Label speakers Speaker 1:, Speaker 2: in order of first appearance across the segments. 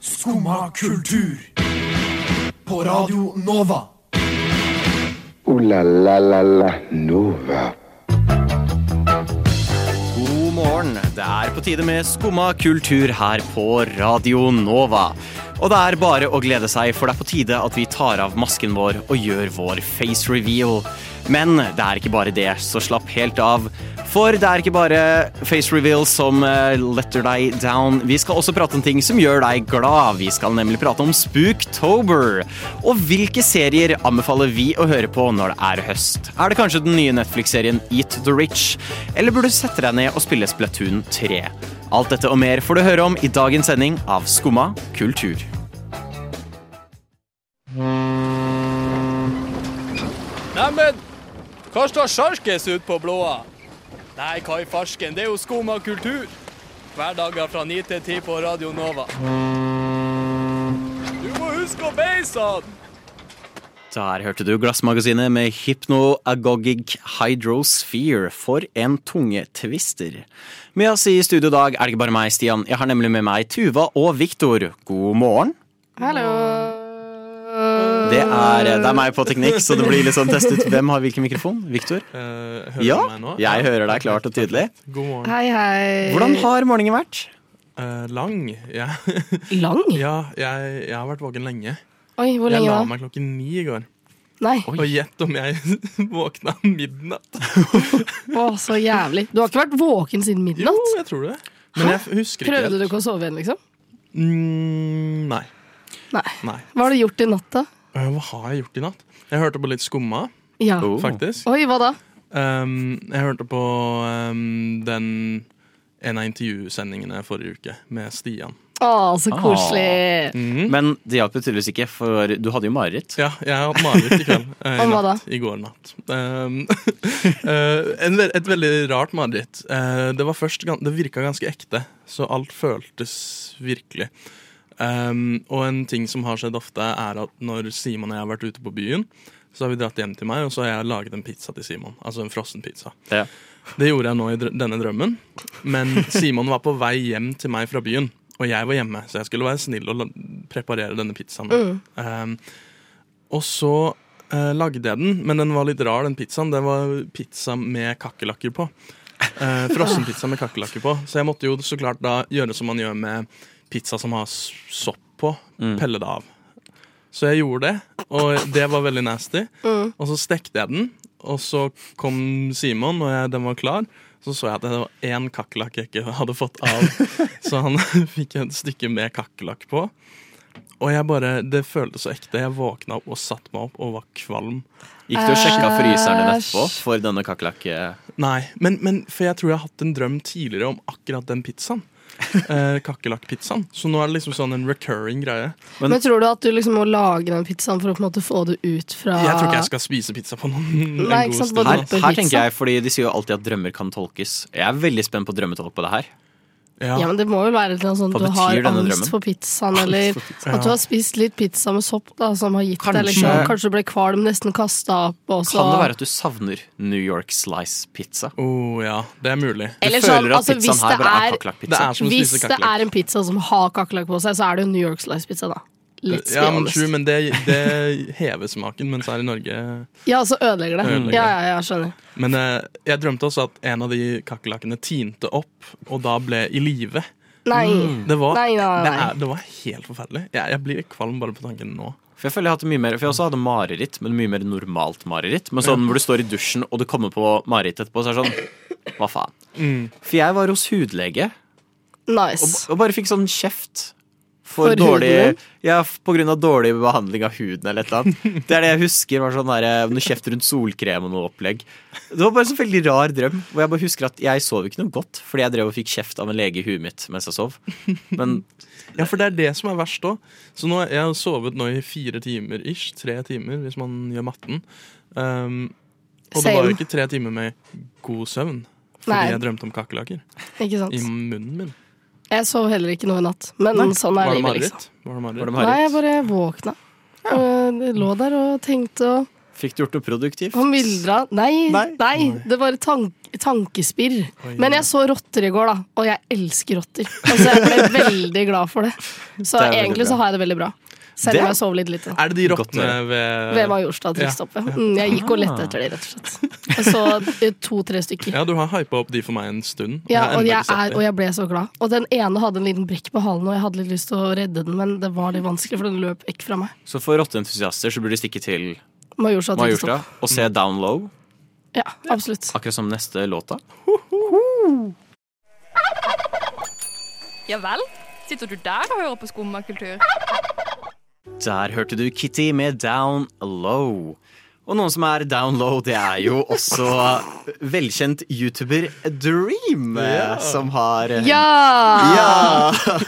Speaker 1: Skumma kultur. På Radio Nova.
Speaker 2: Ooh la la la la Nova.
Speaker 3: God morgen. Det er på tide med Skumma kultur her på Radio Nova. Og det er bare å glede seg, for det er på tide at vi tar av masken vår og gjør vår face reveal. Men det er ikke bare det, så slapp helt av. For det er ikke bare face reveal som eh, letter deg down. Vi skal også prate om ting som gjør deg glad. Vi skal nemlig prate om Spooktober. Og hvilke serier anbefaler vi å høre på når det er høst? Er det kanskje den nye Netflix-serien Eat the Rich? Eller burde du sette deg ned og spille Splatoon 3? Alt dette og mer får du høre om i dagens sending av Skumma kultur.
Speaker 4: Neimen, hva står sjarkes ut på blåa? Nei, hva i farsken, det er jo skum av kultur. Hverdager fra 9 til 10 på Radio Nova. Du må huske å beise han!
Speaker 3: Der hørte du Glassmagasinet med Hypnoagogic Hydrosphere for en tungetwister. Med oss i studio i dag er det ikke bare meg, Stian. Jeg har nemlig med meg Tuva og Viktor. God morgen.
Speaker 5: Hallo.
Speaker 3: Det er, det er meg på teknikk, så det blir litt sånn testet. Hvem har hvilken mikrofon? Viktor?
Speaker 6: Eh, hører
Speaker 3: Ja,
Speaker 6: du meg nå?
Speaker 3: jeg hører deg klart og tydelig.
Speaker 6: God morgen.
Speaker 5: Hei, hei.
Speaker 3: Hvordan har morgenen vært?
Speaker 6: Eh, lang. Ja,
Speaker 5: Lang?
Speaker 6: ja jeg, jeg har vært våken lenge.
Speaker 5: Oi, hvor
Speaker 6: Jeg
Speaker 5: lenge
Speaker 6: la
Speaker 5: da?
Speaker 6: meg klokken ni i går.
Speaker 5: Nei,
Speaker 6: Og gjett om jeg våkna midnatt.
Speaker 5: å, så jævlig. Du har ikke vært våken siden
Speaker 6: Jo,
Speaker 5: midnatt?
Speaker 6: jeg tror det. Men jeg husker ikke
Speaker 5: Prøvde du ikke å sove igjen, liksom?
Speaker 6: Mm, nei.
Speaker 5: Nei.
Speaker 6: nei.
Speaker 5: Hva har du gjort i natt, da?
Speaker 6: Eh, hva har jeg gjort i natt? Jeg hørte på litt skumma,
Speaker 5: Ja.
Speaker 3: Oh.
Speaker 6: faktisk.
Speaker 5: Oi, hva da?
Speaker 6: Um, jeg hørte på um, den en av intervjusendingene forrige uke med Stian.
Speaker 5: Å,
Speaker 3: Ah.
Speaker 5: så koselig.
Speaker 6: Mm.
Speaker 3: Men det hjalp jo tydeligvis ikke, for du hadde jo mareritt.
Speaker 6: Ja, jeg har hatt mareritt i kveld. eh, i
Speaker 5: Om hva
Speaker 6: natt, I går natt. Um, eh, en, ve- et veldig rart mareritt. Eh, det var først gan- Det virka ganske ekte, så alt føltes virkelig. Um, og en ting som har skjedd ofte, er at når Simon og jeg har vært ute på byen, så har vi dratt hjem til meg, og så har jeg laget en pizza til Simon. Altså en frossen pizza.
Speaker 3: Ja.
Speaker 6: Det gjorde jeg nå i drø denne drømmen, men Simon var på vei hjem til meg fra byen. Og jeg var hjemme, så jeg skulle være snill og la- preparere denne pizzaen. Um, og så eh, lagde jeg den, men den var litt rar, den pizzaen. Det var pizza med kakerlakker på. Uh, frossenpizza med kakerlakker på. Så jeg måtte jo så klart da gjøre som man gjør med pizza som har s- sopp på. Pelle det av. Så jeg gjorde det, og det var veldig nasty.
Speaker 5: Mm.
Speaker 6: Og så stekte jeg den, og så kom Simon, og jeg, den var klar. Så så jeg at det var én kakerlakk jeg ikke hadde fått av. Så han fikk et stykke med kakerlakk på. Og jeg bare, det føltes så ekte. Jeg våkna opp og satte meg opp og var kvalm.
Speaker 3: Gikk du og sjekka fryseren din etterpå
Speaker 5: Eh, Æsj.
Speaker 3: for denne kakerlakke...
Speaker 6: Nei, men, men for jeg tror jeg har hatt en drøm tidligere om akkurat den pizzaen. Eh, Kakerlakkpizzaen. Så nå er det liksom sånn en recurring greie.
Speaker 3: Men-
Speaker 5: Men, tror du at du liksom må lage den pizzaen for å på en måte få det ut fra
Speaker 6: Jeg tror ikke jeg skal spise pizza på noen en
Speaker 5: Ah. Nei, ikke
Speaker 6: god
Speaker 5: sant,
Speaker 6: stund. altså.
Speaker 5: både-
Speaker 3: Her,
Speaker 5: Oppe i
Speaker 3: her
Speaker 5: pizza.
Speaker 3: tenker jeg, fordi De sier jo alltid at drømmer kan tolkes. Jeg er veldig spent på drømmetolk på det her.
Speaker 6: Ja.
Speaker 5: Ja, men Det må jo være et eller annet sånn
Speaker 3: Hva
Speaker 5: at du har
Speaker 3: betyr denne
Speaker 5: angst
Speaker 3: drømmen?
Speaker 5: for pizzaen, eller at du har spist litt pizza med sopp da, som har gitt
Speaker 3: Kanskje-
Speaker 5: deg liksom Kanskje du ble kvalm, nesten kasta opp, og så
Speaker 3: Kan det være sånn at du savner New York slice pizza?
Speaker 6: Oh, ja, det er mulig.
Speaker 3: Du
Speaker 5: Eller sånn,
Speaker 3: føler at
Speaker 5: altså,
Speaker 3: pizzaen
Speaker 5: hvis
Speaker 3: her
Speaker 5: det
Speaker 3: bare er
Speaker 5: er-
Speaker 6: Det
Speaker 3: kakerlakkpizza?
Speaker 6: er som å
Speaker 5: Hvis
Speaker 6: spise
Speaker 5: det
Speaker 6: kakerlakk.
Speaker 5: er en pizza som har kakerlakk på seg, så er det jo New York slice pizza, da. Let's
Speaker 6: Ja,
Speaker 5: be
Speaker 6: men,
Speaker 5: honest.
Speaker 6: true, men det, det hever smaken, mens her i Norge
Speaker 5: Ja, så ødelegger det.
Speaker 6: Ødelegger.
Speaker 5: Ja, ja, ja, skjønner.
Speaker 6: Men eh, jeg drømte også at en av de kakerlakkene tinte opp, og da ble i live.
Speaker 5: Nei.
Speaker 6: Det var,
Speaker 5: Nei, nei,
Speaker 6: Det,
Speaker 5: nei.
Speaker 6: er, det var helt forferdelig. Jeg, jeg blir kvalm bare på tanken nå.
Speaker 3: For jeg føler jeg hadde mye mer For jeg også hadde mareritt, men mye mer normalt mareritt. Men sånn hvor du står i dusjen, og det kommer på mareritt etterpå, så er det sånn Hva faen? For jeg var hos hudlege og,
Speaker 5: Nice.
Speaker 3: og bare fikk sånn kjeft. For,
Speaker 5: For
Speaker 3: dårlig
Speaker 5: huden?
Speaker 3: Ja, f- på grunn av dårlig behandling av huden eller et eller annet. Det er det jeg husker. var sånn der, Noe kjeft rundt solkrem og noe opplegg. Det var bare en sånn veldig rar drøm. Hvor jeg bare husker at jeg sov ikke noe godt, fordi jeg drev og fikk kjeft av en lege i huet mitt mens jeg sov. Men
Speaker 6: Ja, for det er det som er verst òg. Så nå, jeg har sovet nå i fire timer ish. Tre timer, hvis man gjør matten. Um, og det var
Speaker 5: Same.
Speaker 6: jo ikke tre timer med god søvn. Fordi
Speaker 5: Nei.
Speaker 6: jeg drømte om kakerlakker
Speaker 5: Ikke
Speaker 6: i
Speaker 5: sant.
Speaker 6: munnen min.
Speaker 5: Jeg sov heller ikke noe i natt, men sånn er
Speaker 6: Var det
Speaker 5: livet, liksom.
Speaker 6: mareritt? Var det
Speaker 3: var det
Speaker 6: mareritt?
Speaker 5: Nei, jeg
Speaker 3: mareritt?
Speaker 5: bare våkna. Og jeg lå der og tenkte og
Speaker 3: Fikk du gjort noe produktivt?
Speaker 5: Han myldra Nei, nei,
Speaker 3: Nei.
Speaker 5: det var tank, tankespirr. Men jeg så rotter i går, da, og jeg elsker rotter. Altså, jeg ble veldig glad for det. Så
Speaker 3: Det er veldig
Speaker 5: egentlig så
Speaker 3: bra.
Speaker 5: har jeg det veldig bra. Selv
Speaker 3: Det-
Speaker 5: om jeg sover litt lite.
Speaker 6: Er det de
Speaker 3: Godt å
Speaker 6: rottene ved
Speaker 5: Ved Majorstad drivstoppet. Mm, jeg gikk og lette etter de, rett og slett. Jeg så eh, to-tre stykker.
Speaker 6: Ja, du har hypa opp de for meg en stund.
Speaker 5: Ja,
Speaker 6: har
Speaker 5: og
Speaker 6: enda
Speaker 5: jeg,
Speaker 6: ikke sett
Speaker 5: er,
Speaker 6: de.
Speaker 5: og jeg ble så glad. Og den ene hadde en liten brekk på halen, og jeg hadde litt lyst til å redde den, men det var litt vanskelig, for den løp vekk fra meg.
Speaker 3: Så for rotteentusiaster så burde de stikke til
Speaker 5: Majorstad
Speaker 3: Majorstua
Speaker 5: drivstopp.
Speaker 3: og se Down Low,
Speaker 5: Ja, absolutt.
Speaker 3: akkurat som neste låta.
Speaker 7: Ja vel? Sitter du der og hører på skummakultur?
Speaker 3: Der hørte du Kitty med Down Low. Og noen som er down low, det er jo også velkjent YouTuber Dream, eh, som har eh,
Speaker 5: Ja!
Speaker 3: Ja!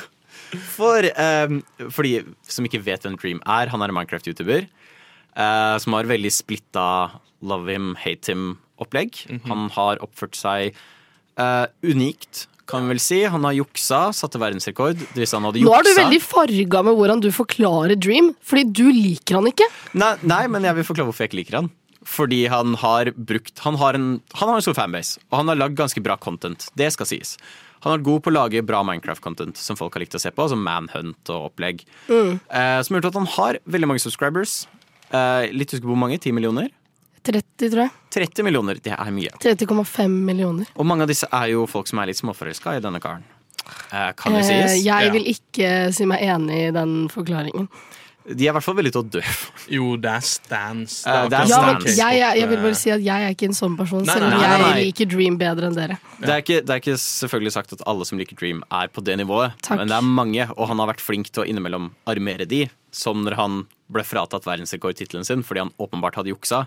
Speaker 3: For, ehm, for de som ikke vet hvem Dream er, han er en Minecraft-youtuber eh, som har veldig splitta love him, hate him-opplegg. Han har oppført seg eh, unikt, kan vi vel si. Han har juksa, satte verdensrekord. Det Hvis han hadde juksa
Speaker 5: Nå er du veldig farga med hvordan du forklarer Dream, fordi du liker han ikke.
Speaker 3: Nei, nei, men jeg vil forklare hvorfor jeg ikke liker han. Fordi han har brukt Han har en, han har en stor fanbase, og han har lagd ganske bra content. Det skal sies. Han har vært god på å lage bra Minecraft-content som folk har likt å se på. Altså Manhunt og opplegg. Eh, som har gjort at han har veldig mange subscribers. Eh, litt husker på hvor mange? 10 millioner?
Speaker 5: 30, tror jeg.
Speaker 3: 30 millioner, det er mye.
Speaker 5: 30,5 millioner.
Speaker 3: Og mange av disse er jo folk som er litt småforelska i denne karen. Eh, kan det
Speaker 5: Eh,
Speaker 3: sies?
Speaker 5: jeg
Speaker 6: Ja.
Speaker 5: vil ikke si meg enig i den forklaringen.
Speaker 3: De er i hvert fall villige til å dø for
Speaker 6: Jo, det er stans.
Speaker 3: Eh, det er
Speaker 5: Ja,
Speaker 3: Stan
Speaker 5: men
Speaker 3: Stanley.
Speaker 5: jeg, jeg, jeg vil bare si at jeg er ikke en sånn person,
Speaker 6: Nei,
Speaker 5: selv om
Speaker 3: nei,
Speaker 6: nei,
Speaker 3: nei.
Speaker 5: jeg liker Dream bedre enn dere.
Speaker 3: Det er, ikke, det er ikke selvfølgelig sagt at alle som liker Dream er på det nivået,
Speaker 5: Takk.
Speaker 3: men det er mange, og han har vært flink til å innimellom armere de, som når han ble fratatt verdensrekordtittelen sin fordi han åpenbart hadde juksa.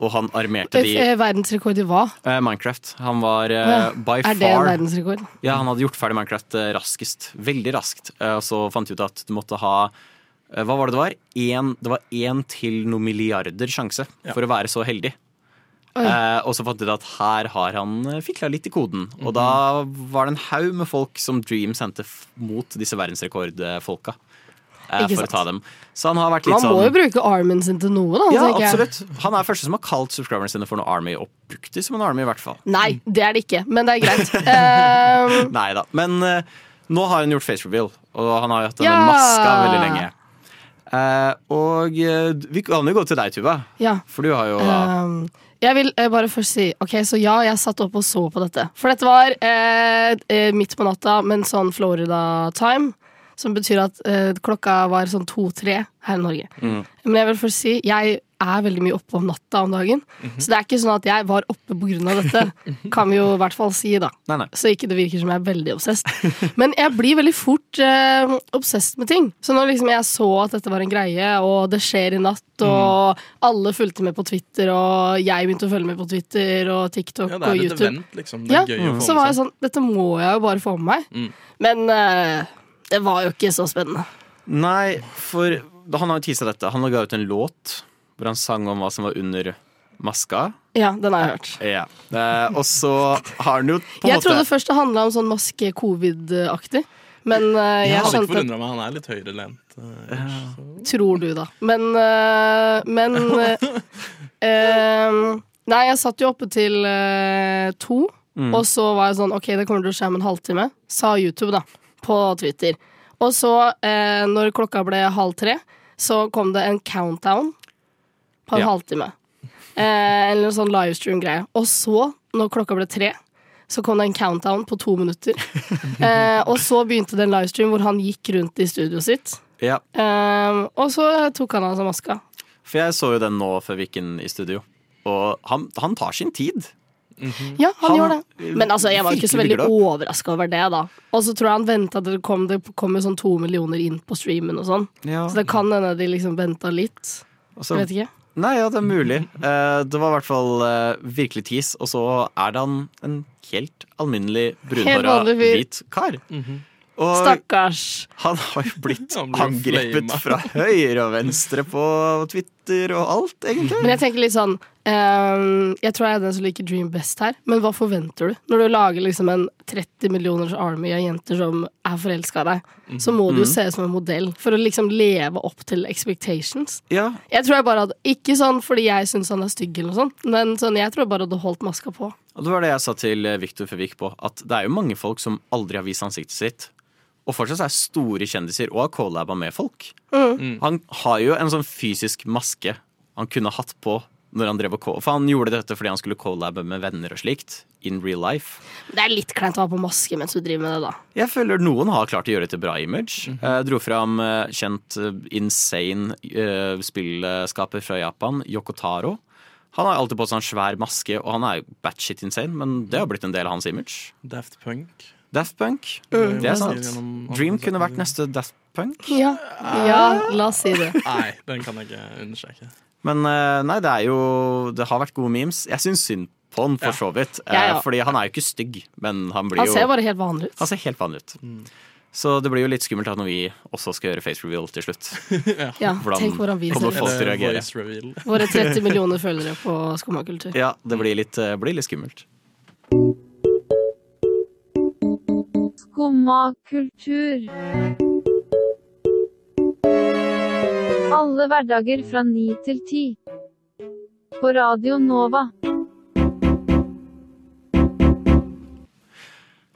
Speaker 3: Og han armerte de
Speaker 5: Eh, Verdensrekord i hva?
Speaker 3: eh, Minecraft. Han var eh,
Speaker 5: Ja.
Speaker 3: by
Speaker 5: Er det en
Speaker 3: far
Speaker 5: verdensrekord?
Speaker 3: Ja, han hadde gjort ferdig Minecraft eh, raskest. Veldig raskt. Eh, Og så fant de ut at du måtte ha eh, Hva var det det var? En, det var én til noen milliarder sjanse for å være så heldig.
Speaker 5: Oi.
Speaker 3: Eh, og så fant de ut at her har han eh, fikla litt i koden. Og da var det en haug med folk som Dream sendte f mot disse verdensrekordfolka. eh,
Speaker 5: Ikke
Speaker 3: for
Speaker 5: sant.
Speaker 3: å ta dem. Så han har vært litt
Speaker 5: Man må jo
Speaker 3: sånn
Speaker 5: bruke armen sin til noe, da.
Speaker 3: ja,
Speaker 5: tenker jeg.
Speaker 3: absolutt. Han er første som har kalt subscriberne sine for noe Army, og brukt de som en Army, i hvert fall.
Speaker 5: Nei, det er det ikke, men det er greit. Eh,
Speaker 3: Nei da. Men eh, nå har hun gjort face reveal, og han har jo hatt denne
Speaker 5: Ja!
Speaker 3: maska veldig lenge. Eh, og eh, vi kan jo gå til deg, Tuva.
Speaker 5: ja.
Speaker 3: For du har jo da
Speaker 5: Um, jeg vil eh, bare først si Ok, så ja, jeg satt opp og så på dette. For dette var eh, eh, midt på natta, men sånn Florida-time. Som betyr at eh, klokka var sånn to-tre her i Norge.
Speaker 3: Mm.
Speaker 5: Men jeg vil først si jeg er veldig mye oppe om natta om dagen. Så det er ikke sånn at jeg var oppe pga. dette, kan vi jo i hvert fall si, da.
Speaker 3: Nei, nei.
Speaker 5: Så ikke det virker som jeg er veldig obsess. Men jeg blir veldig fort eh, obsess med ting. Så når liksom jeg så at dette var en greie, og det skjer i natt, og alle fulgte med på Twitter, og jeg begynte å følge med på Twitter og TikTok
Speaker 6: Ja, det
Speaker 5: og
Speaker 6: er et
Speaker 5: YouTube,
Speaker 6: event, liksom. Det
Speaker 5: ja,
Speaker 6: er gøy å
Speaker 3: mm.
Speaker 6: få
Speaker 5: så var
Speaker 6: med
Speaker 5: jeg
Speaker 6: seg.
Speaker 5: sånn Dette må jeg jo bare få med meg. Men eh, det var jo ikke så spennende.
Speaker 3: Nei, for han har jo tisa dette. Han ga ut en låt hvor han sang om hva som var under maska.
Speaker 5: Ja, den har jeg hørt.
Speaker 3: Ja. Eh, og så har han jo på en
Speaker 5: Jeg trodde
Speaker 3: måte
Speaker 5: først det handla om sånn maske-covid-aktig. Men eh,
Speaker 6: Jeg
Speaker 5: jeg
Speaker 6: hadde ikke
Speaker 5: skjønte at
Speaker 6: forundra meg, han er litt høyrelent. eh, ish, så-
Speaker 5: Tror du, da. Men eh, Men eh, eh, Nei, jeg satt jo oppe til eh, to, og så var jeg sånn OK, det kommer til å skje om en halvtime. Sa YouTube, da. På Twitter. Og så, eh, når klokka ble halv tre, så kom det en countdown på en
Speaker 3: Ja.
Speaker 5: halvtime. Eh, eller en sånn livestream-greie. Og så, når klokka ble tre, så kom det en countdown på to minutter. eh, og så begynte det en livestream hvor han gikk rundt i studioet sitt.
Speaker 3: ja,
Speaker 5: Eh, og så tok han av seg maska.
Speaker 3: For jeg så jo den nå før vi gikk inn i studio. Og han, han tar sin tid.
Speaker 5: Ja, Mm. han,
Speaker 3: Han-
Speaker 5: gjorde det. Men altså, jeg var ikke så
Speaker 3: Virkelig
Speaker 5: veldig
Speaker 3: glad.
Speaker 5: overraska over det, da. Og så tror jeg han venta til det kom, det kom jo sånn to millioner inn på streamen og sånn.
Speaker 3: Ja.
Speaker 5: Så det kan hende de liksom venta litt.
Speaker 3: Og så
Speaker 5: Jeg vet ikke.
Speaker 3: Nei, ja, det er mulig. Eh, det var i hvert fall eh, virkelig tis, og så er det han en helt alminnelig
Speaker 5: Helt
Speaker 3: brunhåra,
Speaker 5: vanlig fyr.
Speaker 3: hvit kar. Og
Speaker 5: Stakkars.
Speaker 3: han har jo blitt
Speaker 6: Mhm. Han blir
Speaker 3: angrepet
Speaker 6: flamet.
Speaker 3: fra høyre og venstre på Twitter dialekter og alt, egentlig.
Speaker 5: Men jeg tenker litt sånn ehm, Jeg tror jeg er den som liker Dream best her, men hva forventer du? Når du lager liksom en 30 millioners army av jenter som er forelska i deg,
Speaker 3: Mm.
Speaker 5: så må du jo se ut som en modell for å liksom leve opp til expectations.
Speaker 3: Ja,
Speaker 5: Jeg tror jeg bare hadde Ikke sånn fordi jeg syns han er stygg, eller noe sånt, men sånn, jeg tror jeg bare hadde holdt maska på.
Speaker 3: og det var det jeg sa til Viktor før vi gikk på, at det er jo mange folk som aldri har vist ansiktet sitt, og fortsatt er store kjendiser og har collaba med folk. Han har jo en sånn fysisk maske han kunne hatt på når han drev og co- For han gjorde dette fordi han skulle collabe med venner og slikt, in real life.
Speaker 5: Det er litt kleint å ha på maske mens du driver med det, da.
Speaker 3: Jeg føler noen har klart å gjøre et bra image. Jeg dro fram eh, kjent eh, insane eh, spillskaper fra Japan, Yoko Taro. Han har alltid på seg en svær maske, og han er jo batshit insane, men det har blitt en del av hans image.
Speaker 6: Daft Punk.
Speaker 3: Daft Punk,
Speaker 6: Mm,
Speaker 3: det er
Speaker 6: det
Speaker 3: sant.
Speaker 6: sier gjennom alt
Speaker 3: Dream
Speaker 6: konserten
Speaker 3: kunne vært
Speaker 6: sin.
Speaker 3: neste Daft Punk.
Speaker 5: Ja, ja la oss si det.
Speaker 6: Nei, den kan jeg ikke understreke.
Speaker 3: Men eh, nei, det er jo Det har vært gode memes. Jeg syns synd på han, for så vidt.
Speaker 5: Ja, ja.
Speaker 3: eh, Fordi han er jo ikke stygg, men han blir
Speaker 5: Han
Speaker 3: jo
Speaker 5: ser bare helt vanlig ut.
Speaker 3: Han ser helt vanlig ut. Så det blir jo litt skummelt at når vi også skal gjøre face reveal til slutt.
Speaker 5: Ja,
Speaker 3: hvordan
Speaker 5: tenk hvordan vi
Speaker 3: kommer
Speaker 5: ser
Speaker 3: folk
Speaker 5: ut.
Speaker 3: til å
Speaker 6: Eller
Speaker 3: reagere.
Speaker 6: voice reveal.
Speaker 5: Våre 30 millioner følgere på Skummakultur.
Speaker 3: Ja, det blir litt, eh, blir litt skummelt.
Speaker 8: Skumma kultur. Alle hverdager fra 9 til 10. På Radio Nova.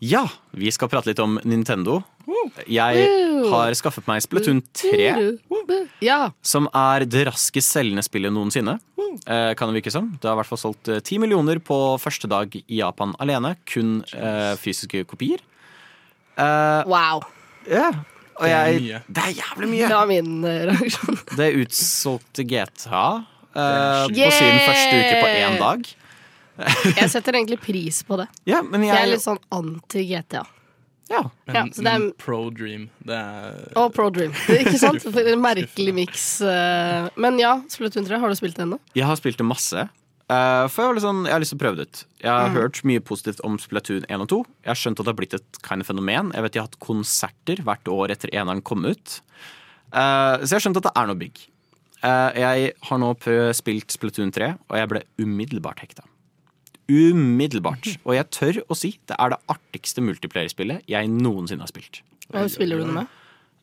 Speaker 3: Ja, vi skal prate litt om Nintendo. Jeg har skaffet meg Splatoon 3,
Speaker 5: Ja.
Speaker 3: som er det raskest selgende spillet noensinne. Eh, kan det virke som. Det har i hvert fall solgt eh, 10 millioner på første dag i Japan alene. Kun eh, fysiske kopier. Eh,
Speaker 5: Wow.
Speaker 3: ja. Og
Speaker 6: Det er
Speaker 3: jeg,
Speaker 6: mye.
Speaker 3: det er jævlig
Speaker 5: Det
Speaker 3: mye!
Speaker 5: var min eh, reaksjon.
Speaker 3: Det utsolgte GTA eh,
Speaker 5: Det er
Speaker 3: på sin
Speaker 5: sjukt.
Speaker 3: første uke på én dag.
Speaker 5: Jeg setter egentlig pris på det.
Speaker 3: Ja, men
Speaker 5: Jeg er liksom-
Speaker 3: jeg
Speaker 5: litt sånn anti-GTA.
Speaker 3: ja.
Speaker 6: Men,
Speaker 5: Ja, så det er-
Speaker 6: men Pro Dream, det er
Speaker 5: Og Pro Dream. Det er Ikke sant? For en merkelig miks. eh, Men ja, Splatoon 3, har du spilt det ennå?
Speaker 3: Jeg har spilt det masse. eh, for jeg, var litt sånn, jeg har lyst til å prøve det ut. Jeg har hørt mye positivt om Splatoon 1 og 2. Jeg har skjønt at det har blitt et kind of fenomen. Jeg vet de har hatt konserter hvert år etter eneren kom ut. Eh, så jeg har skjønt at det er noe big. Eh, jeg har nå prø- spilt Splatoon 3, og jeg ble umiddelbart hekta. Umiddelbart. Og jeg tør å si det er det artigste multiplayerspillet jeg noensinne har spilt.
Speaker 5: Hva spiller du det med?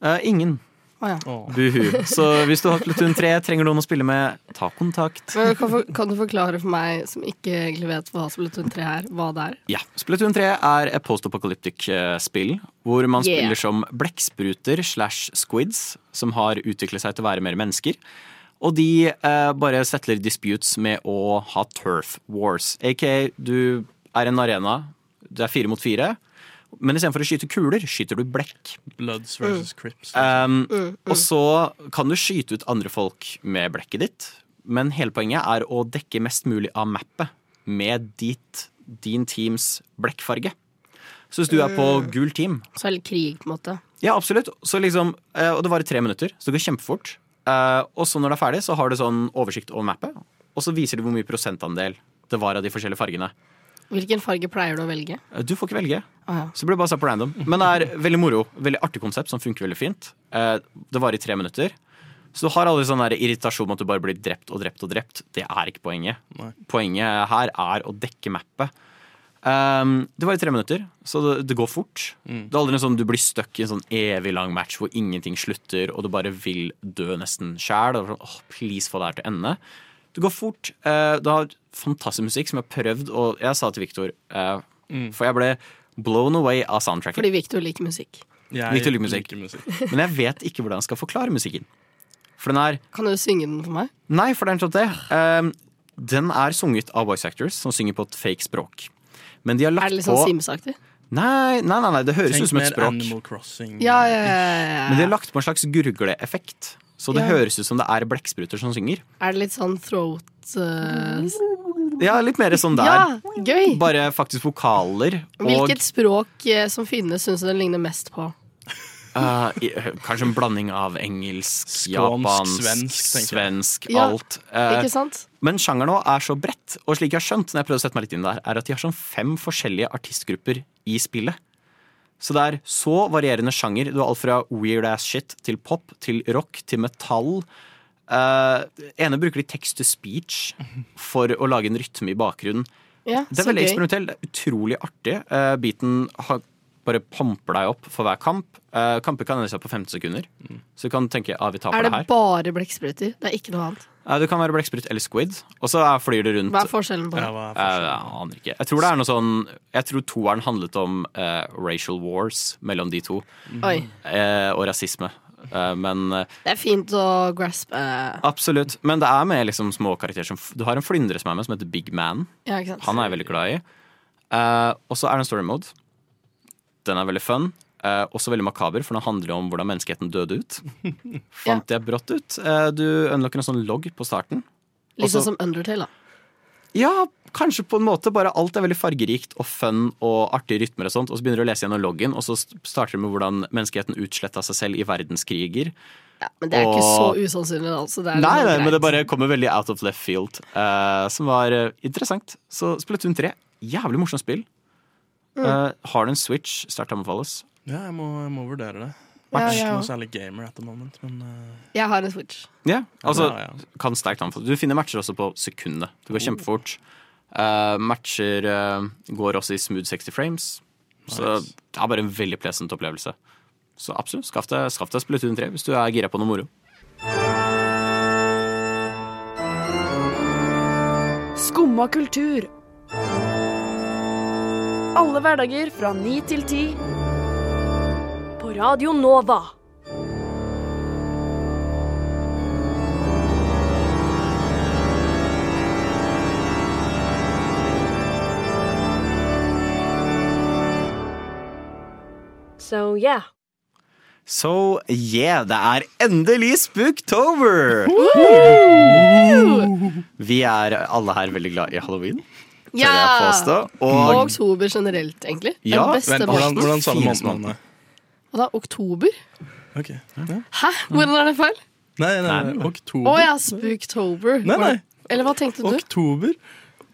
Speaker 3: Eh, ingen.
Speaker 5: Å ja.
Speaker 3: Buhu. Så hvis du har Splatoon 3, trenger noen å spille med, ta kontakt.
Speaker 5: Men kan, for, kan du forklare for meg, som ikke egentlig vet hva Splatoon 3 er, hva det er?
Speaker 3: Ja. Splatoon 3 er et post-apokalyptic-spill hvor man
Speaker 5: Yeah.
Speaker 3: spiller som blekkspruter slash squids som har utviklet seg til å være mer mennesker. Og de eh, bare settler disputes med å ha turf wars. Aka, du er en arena, det er fire mot fire. Men istedenfor å skyte kuler, skyter du blekk.
Speaker 6: Bloods
Speaker 5: Mm.
Speaker 6: versus Crips.
Speaker 3: Um, Og så kan du skyte ut andre folk med blekket ditt, men hele poenget er å dekke mest mulig av mappet med ditt, din teams blekkfarge. Så hvis du er på gul team,
Speaker 5: Så er det litt krig, på en måte.
Speaker 3: ja, absolutt. Så liksom, eh, og det varer tre minutter, så det går kjempefort. Eh, Og så når det er ferdig, så har du sånn oversikt over mappet, og så viser det hvor mye prosentandel det var av de forskjellige fargene.
Speaker 5: Hvilken farge pleier du å velge?
Speaker 3: Eh, Du får ikke velge.
Speaker 5: Å ja.
Speaker 3: Så det blir bare satt på random. Men det er veldig moro. Veldig artig konsept som funker veldig fint. Eh, Det varer i tre minutter. Så du har aldri sånn der irritasjon med at du bare blir drept og drept og drept. Det er ikke poenget.
Speaker 6: Nei.
Speaker 3: Poenget her er å dekke mappet. Um, det var i tre minutter, så det, det går fort.
Speaker 6: Mm.
Speaker 3: Det er aldri en sånn du blir stuck i en sånn evig lang match hvor ingenting slutter, og du bare vil dø nesten sjæl. Og sånn, åh, please, få det her til ende. Det går fort. eh, det har fantastisk musikk som jeg har prøvd, og jeg sa til Viktor eh,
Speaker 6: Mm.
Speaker 3: For jeg ble blown away av soundtracket.
Speaker 5: Fordi Victor liker musikk.
Speaker 6: Jeg
Speaker 3: Victor liker musikk.
Speaker 6: musikk.
Speaker 3: Men jeg vet ikke hvordan jeg skal forklare musikken. For den er
Speaker 5: Kan du synge den for meg?
Speaker 3: Nei, for det er nettopp det. Ehm, den er sunget av voice actors som synger på et fake språk. Men de har lagt
Speaker 5: Er det litt sånn
Speaker 3: på
Speaker 5: Sims-aktig?
Speaker 3: nei, nei, nei, nei, det høres ut
Speaker 6: Tenk
Speaker 3: som et
Speaker 6: mer
Speaker 3: språk.
Speaker 6: Animal Crossing.
Speaker 5: Ja, ja, ja,
Speaker 3: Men de
Speaker 5: ja,
Speaker 3: har lagt på en slags gurgleeffekt. Så det
Speaker 5: Ja.
Speaker 3: høres ut som det er blekkspruter som synger.
Speaker 5: ja. Er det litt sånn throat eh, s-
Speaker 3: Ja, litt mer sånn der.
Speaker 5: Ja, gøy!
Speaker 3: Bare faktisk vokaler og
Speaker 5: Hvilket språk eh, som finnes, syns du den ligner mest på?
Speaker 3: eh, i- kanskje en blanding av engelsk,
Speaker 6: Skånsk,
Speaker 3: japansk,
Speaker 6: svensk, tenker jeg.
Speaker 3: svensk,
Speaker 5: Ja,
Speaker 3: alt. Eh,
Speaker 5: Ikke sant?
Speaker 3: Men sjangeren nå er så bredt, og slik jeg har skjønt, når jeg prøvde å sette meg litt inn der, er at de har sånn fem forskjellige artistgrupper i spillet. Så det er så varierende sjanger. Du har alt fra weird ass shit til pop, til rock, til metall, Eh, det ene bruker de text to speech for å lage en rytme i bakgrunnen.
Speaker 5: Ja,
Speaker 3: Det er
Speaker 5: så
Speaker 3: veldig
Speaker 5: gøy.
Speaker 3: eksperimentell, det er utrolig artig. Eh, beaten har, bare pamper deg opp for hver kamp. Eh, kamper kan ende seg på 15 sekunder, så du kan tenke ah, vi taper
Speaker 5: Er
Speaker 3: det
Speaker 5: det
Speaker 3: her.
Speaker 5: bare blekkspruter? Det er ikke noe annet.
Speaker 3: Eh, det kan være blekksprut eller squid, og så er- flyr det rundt
Speaker 5: Hva er forskjellen på det?
Speaker 6: Ja, hva er
Speaker 3: Eh, Jeg aner ikke. Jeg tror det er noe sånn Jeg tror toeren handlet om eh, racial wars mellom de to,
Speaker 5: Oi.
Speaker 3: eh, og rasisme. Eh, men eh,
Speaker 5: Det er fint å grasp eh,
Speaker 3: absolutt. Men det er med liksom små karakterer som Du har en flyndre som er med, som heter Big Man.
Speaker 5: Ja, ikke sant?
Speaker 3: Han er jeg veldig glad i. Eh, og så er det en story mode. Den er veldig fun. eh, også veldig makaber, for den handler om hvordan menneskeheten døde ut. Fant jeg brått ut. Eh, du unlocker en sånn logg på starten.
Speaker 5: Litt sånn
Speaker 3: også-
Speaker 5: som Undertale, da.
Speaker 3: Ja, kanskje på en måte. Bare alt er veldig fargerikt og fun og artige rytmer og sånt. Og så begynner du å lese gjennom loggen, og så st- starter du med hvordan menneskeheten utsletta seg selv i verdenskriger.
Speaker 5: Ja, men det er ikke så
Speaker 3: Og-
Speaker 5: usannsynlig, altså. Det er
Speaker 3: Nei,
Speaker 5: liksom
Speaker 3: nei, men det
Speaker 5: greit.
Speaker 3: bare kommer veldig out of left field. eh, som var eh, interessant. Så Splatoon 3, jævlig morsomt spill.
Speaker 5: Mm.
Speaker 3: Eh, har du en Switch, sterkt anbefales.
Speaker 6: Ja, jeg må, jeg må vurdere det.
Speaker 5: Ja,
Speaker 6: Jeg er
Speaker 5: ja.
Speaker 6: ikke noe særlig gamer at the moment, men eh,
Speaker 5: Jeg har en switch.
Speaker 3: Ja, altså,
Speaker 6: ja, ja.
Speaker 3: kan sterkt anbefales. Du finner matcher også på sekundet. Det går kjempefort. Eh, matcher eh, går også i smooth 60 frames. Så
Speaker 6: Nice.
Speaker 3: det er bare en veldig pleasant opplevelse. Så absolutt, skaff deg, skaff deg Splatoon 3 hvis du er gira på noe moro.
Speaker 9: Skumma kultur. Alle hverdager fra ni til ti. På Radio Nova. So yeah.
Speaker 3: So yeah, det er endelig Spooktober! Vi er alle her veldig glad i halloween, tør jeg påstå.
Speaker 5: Og
Speaker 3: Og
Speaker 5: oktober generelt, egentlig. Det er
Speaker 3: Ja,
Speaker 5: den beste
Speaker 6: vent, hvordan,
Speaker 5: måneden.
Speaker 6: hvordan sa du
Speaker 3: Fineste
Speaker 6: månedene?
Speaker 5: Og da oktober?
Speaker 6: Ok. Ja.
Speaker 5: Hæ? Hvordan er det feil?
Speaker 6: Nei,
Speaker 3: Nei,
Speaker 6: nei, nei,
Speaker 3: nei.
Speaker 5: Å
Speaker 6: oktober.
Speaker 5: ja, spooktober.
Speaker 6: Nei, nei.
Speaker 5: Eller hva tenkte du?
Speaker 6: Oktober?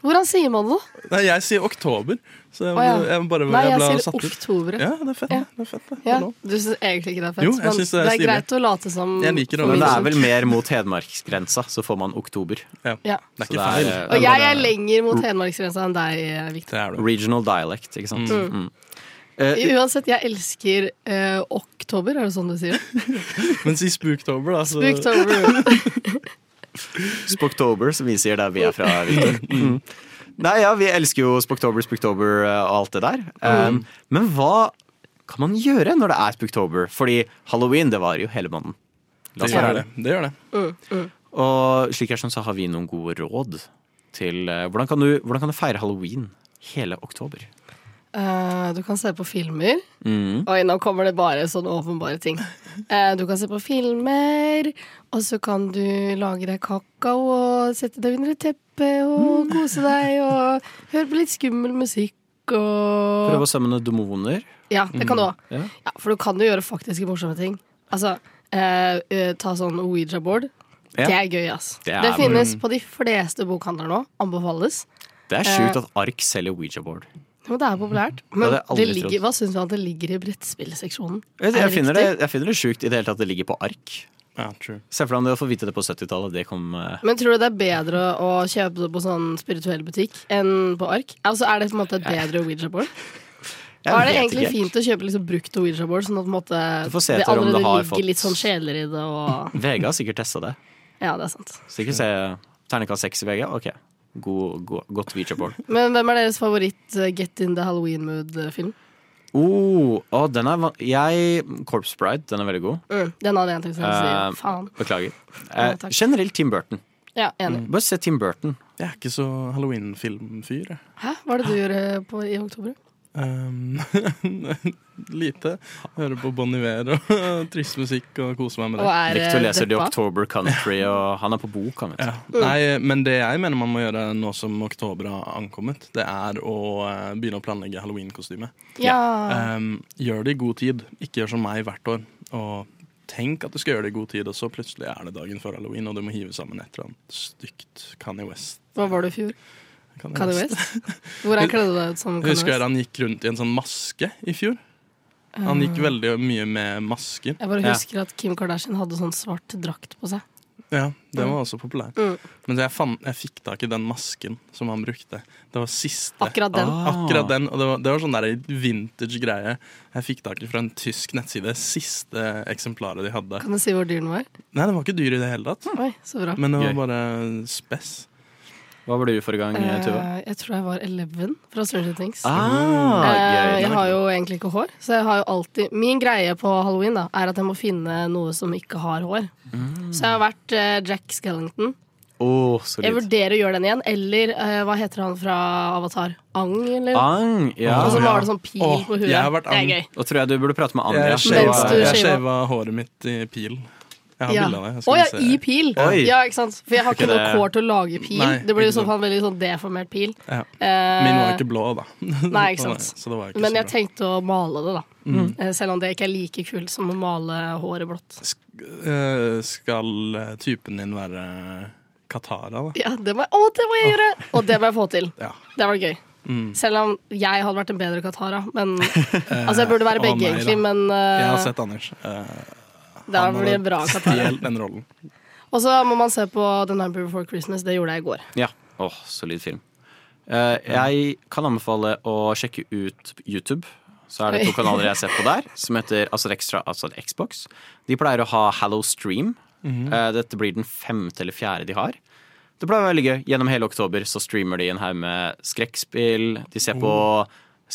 Speaker 5: Hvordan sier man det? da?
Speaker 6: Nei, jeg sier oktober. Så jeg,
Speaker 5: Å, ja.
Speaker 6: jeg bare
Speaker 5: Nei,
Speaker 6: jeg ble
Speaker 5: jeg
Speaker 6: satt
Speaker 5: sier
Speaker 6: ut.
Speaker 5: oktober.
Speaker 6: Ja, det er fett,
Speaker 5: Ja.
Speaker 6: det. det, er fett, det.
Speaker 5: Ja,
Speaker 6: Det er lov.
Speaker 5: du syns egentlig ikke det er fett,
Speaker 6: Jo, jeg
Speaker 5: men
Speaker 6: synes det
Speaker 5: det
Speaker 6: er
Speaker 5: er,
Speaker 6: stilig.
Speaker 5: greit å late som.
Speaker 6: Jeg liker
Speaker 3: men det
Speaker 6: Liksom.
Speaker 3: er vel mer mot hedmarksgrensa, så får man oktober.
Speaker 5: Ja.
Speaker 6: Det er
Speaker 3: Så det
Speaker 6: ikke
Speaker 3: er,
Speaker 6: feil.
Speaker 3: eh,
Speaker 5: Og jeg er
Speaker 6: bare-
Speaker 5: lenger mot hedmarksgrensa enn deg, Victor.
Speaker 6: Det er du.
Speaker 3: Regional dialect, ikke sant.
Speaker 5: Mm.
Speaker 3: Mm. Eh,
Speaker 5: Uansett, jeg elsker eh, oktober, er det sånn du sier? det?
Speaker 6: Men si spooktober, da. Så.
Speaker 5: Spooktober.
Speaker 3: Spooktober, som vi sier der vi er fra. Victor. Mm. Nei, ja, vi elsker jo Spooktober, Spooktober eh, og alt det der. Um,
Speaker 5: Mm.
Speaker 3: Men hva kan man gjøre når det er Spooktober? Fordi halloween, det varer jo hele måneden. La
Speaker 6: Det
Speaker 3: oss
Speaker 6: gjør
Speaker 3: være
Speaker 6: det. det gjør det.
Speaker 5: Mm,
Speaker 3: Og slik jeg skjønner, så har vi noen gode råd til eh, hvordan, kan du, hvordan kan du feire halloween hele oktober?
Speaker 5: Eh, du kan se på filmer.
Speaker 3: Mm.
Speaker 5: Oi, nå kommer det bare sånne åpenbare ting. Eh, du kan se på filmer, og så kan du lage deg kakao og sette deg under et teppe
Speaker 3: Mm.
Speaker 5: og kose deg og høre på litt skummel musikk og
Speaker 3: Prøve å sømme noen demoner.
Speaker 5: Ja, det kan du òg.
Speaker 3: Ja.
Speaker 5: Ja, for du kan jo gjøre faktiske morsomme ting. Altså, eh, eh, ta sånn Ouija-board.
Speaker 3: Ja.
Speaker 5: Det er gøy, ass.
Speaker 3: Det
Speaker 5: Det,
Speaker 3: er Mm.
Speaker 5: finnes på de fleste bokhandler nå. Anbefales.
Speaker 3: Det er
Speaker 5: Eh.
Speaker 3: sjukt at ark selger Ouija-board.
Speaker 5: Men det er populært.
Speaker 3: hadde
Speaker 5: Men
Speaker 3: jeg aldri
Speaker 5: det ligger,
Speaker 3: trodd.
Speaker 5: hva syns du at det ligger i brettspillseksjonen?
Speaker 3: Jeg,
Speaker 5: Er
Speaker 3: jeg, finner det,
Speaker 5: riktig?
Speaker 3: jeg finner det sjukt i det hele tatt at det ligger på ark.
Speaker 6: Ja, true.
Speaker 3: Se for deg om du får vite det på 70-tallet. Det kom eh,
Speaker 5: Men tror du det er bedre å kjøpe det på sånn spirituell butikk enn på ark? Altså, Er det på en måte et bedre Ouija-board?
Speaker 3: jeg
Speaker 5: Og Er det
Speaker 3: vet
Speaker 5: egentlig
Speaker 3: ikke.
Speaker 5: fint å kjøpe liksom brukt Ouija-board, sånn at på en måte,
Speaker 3: Du får se
Speaker 5: det
Speaker 3: etter om det
Speaker 5: allerede
Speaker 3: har
Speaker 5: ligger
Speaker 3: fått-
Speaker 5: litt sånn sjeler i det? Og...
Speaker 3: VG har sikkert testa det.
Speaker 5: Ja, det er sant.
Speaker 3: Sikkert se terningkast seks i VG. Ok, god, god, godt Ouija-board.
Speaker 5: Men hvem er deres favoritt eh, Get in the Halloween Mood-film?
Speaker 3: Oh, å, den er van Jeg Corpse Bride, den er veldig god.
Speaker 5: Den hadde jeg tenkt å
Speaker 3: Mm. Eh,
Speaker 5: si. Faen.
Speaker 3: Beklager.
Speaker 5: Ja,
Speaker 3: Eh,
Speaker 5: takk.
Speaker 3: generelt Tim Burton.
Speaker 5: Ja, enig.
Speaker 3: Bare se Tim Burton.
Speaker 6: Jeg er ikke så halloween-filmfyr, jeg.
Speaker 5: Hæ? Hva er det du gjorde på, i oktober?
Speaker 6: Um, lite. Hører på Bon Iver og trist musikk og koser meg med
Speaker 5: Og
Speaker 6: det.
Speaker 5: er
Speaker 3: Victor
Speaker 5: eh,
Speaker 3: leser The
Speaker 5: deppa?
Speaker 3: October Country, og han er på bok, han vet
Speaker 6: Ja.
Speaker 3: du.
Speaker 5: Mm.
Speaker 6: Nei, men det jeg mener man må gjøre nå som oktober har ankommet, det er å eh, begynne å planlegge halloween-kostyme.
Speaker 5: Ja.
Speaker 6: Um, gjør det i god tid. Ikke gjør som meg hvert år. Og tenk at du skal gjøre det i god tid, og så plutselig er det dagen før halloween, og du må hive sammen et eller annet stygt Kanye West.
Speaker 5: Hva var du i fjor?
Speaker 6: Kanye
Speaker 5: Kanye
Speaker 6: West.
Speaker 5: West? Hvordan kledde du deg ut som
Speaker 6: Jeg
Speaker 5: Kanye
Speaker 6: husker
Speaker 5: West?
Speaker 6: jeg han gikk rundt i en sånn maske i fjor.
Speaker 5: Ah.
Speaker 6: Han gikk veldig mye med masker.
Speaker 5: Jeg bare
Speaker 3: Ja.
Speaker 5: husker at Kim Kardashian hadde sånn svart drakt på seg.
Speaker 6: Ja, den var også populær.
Speaker 5: Mm.
Speaker 6: Men jeg, fant, jeg fikk tak i den masken som han brukte. Det var siste.
Speaker 5: Akkurat den.
Speaker 3: Ah.
Speaker 6: Akkurat den, og det var, det var sånn der vintage greie. Jeg fikk tak i fra en tysk nettside. Siste eksemplaret de hadde.
Speaker 5: Kan du si hvor dyr den var?
Speaker 6: Nei, den var ikke dyr i det hele tatt.
Speaker 5: Oi, så bra.
Speaker 6: Men det
Speaker 3: Gøy.
Speaker 6: var bare spess.
Speaker 3: Hva ble du forrige gang, eh, Tuva?
Speaker 5: Eh, jeg tror jeg var 11 fra Stranger Things.
Speaker 3: Ah,
Speaker 5: Eh,
Speaker 3: gøy.
Speaker 5: jeg har jo egentlig ikke hår, så jeg har jo alltid Min greie på halloween da er at jeg må finne noe som ikke har hår.
Speaker 3: Mm.
Speaker 5: Så jeg har vært eh, Jack Skellington.
Speaker 3: Åh, så
Speaker 5: Jeg
Speaker 3: litt.
Speaker 5: vurderer å gjøre den igjen. Eller eh, hva heter han fra Avatar? Ang, eller?
Speaker 3: Ang, ja.
Speaker 5: Og så
Speaker 6: ja.
Speaker 5: var det sånn pil
Speaker 6: Åh,
Speaker 5: på huet.
Speaker 6: jeg har vært
Speaker 5: det
Speaker 6: Ang.
Speaker 5: er gøy.
Speaker 3: Da tror jeg du burde prate med Anja.
Speaker 6: Jeg
Speaker 5: Mens
Speaker 6: shava
Speaker 5: du
Speaker 6: jeg
Speaker 5: shava.
Speaker 6: shava håret mitt i pil. Jeg har
Speaker 5: Ja.
Speaker 6: bilde av det. Jeg
Speaker 5: Å
Speaker 6: skal
Speaker 5: ja,
Speaker 6: vise-
Speaker 5: i pil!
Speaker 3: Oi.
Speaker 5: Ja, ikke sant? For jeg har
Speaker 3: Ikke
Speaker 5: ikke noe
Speaker 3: det-
Speaker 5: kår til å lage pil.
Speaker 6: Nei,
Speaker 5: det blir i
Speaker 6: ikke
Speaker 5: så
Speaker 6: sant.
Speaker 5: fall veldig sånn deformert pil.
Speaker 6: Ja.
Speaker 5: Eh,
Speaker 6: Min var ikke blå, da.
Speaker 5: Nei, ikke sant.
Speaker 6: Så det var ikke
Speaker 5: men
Speaker 6: så
Speaker 5: jeg
Speaker 6: bra. Mm.
Speaker 5: tenkte å male det, da.
Speaker 3: Mm.
Speaker 5: Eh, Selv om det ikke er like kult som å male håret blått.
Speaker 6: Eh, skal eh, typen din være eh, Katara, da?
Speaker 5: Ja, det må jeg, å, det må jeg gjøre! Og det må jeg få til.
Speaker 6: Ja.
Speaker 5: Det var gøy.
Speaker 6: Mm.
Speaker 5: Selv om jeg hadde vært en bedre Katara. Men, altså, jeg burde være
Speaker 6: å,
Speaker 5: begge,
Speaker 6: nei, da.
Speaker 5: egentlig, men eh,
Speaker 6: Jeg har sett Anders. Eh,
Speaker 5: det
Speaker 6: han
Speaker 5: blir
Speaker 6: hadde
Speaker 5: bra Katara.
Speaker 6: Stjel den rollen.
Speaker 5: Og så må man se på The Night Before Christmas. Det gjorde jeg i går.
Speaker 3: Ja. Åh, solid film. Eh, jeg kan anbefale å sjekke ut YouTube. Så er det to kanaler jeg har sett på der, som heter altså Azad Extra Azad Xbox. De pleier å ha Hallow Stream. Eh, dette blir den femte eller fjerde de har. Det pleier å være veldig gøy. Gjennom hele oktober så streamer de en haug med skrekkspill. De ser på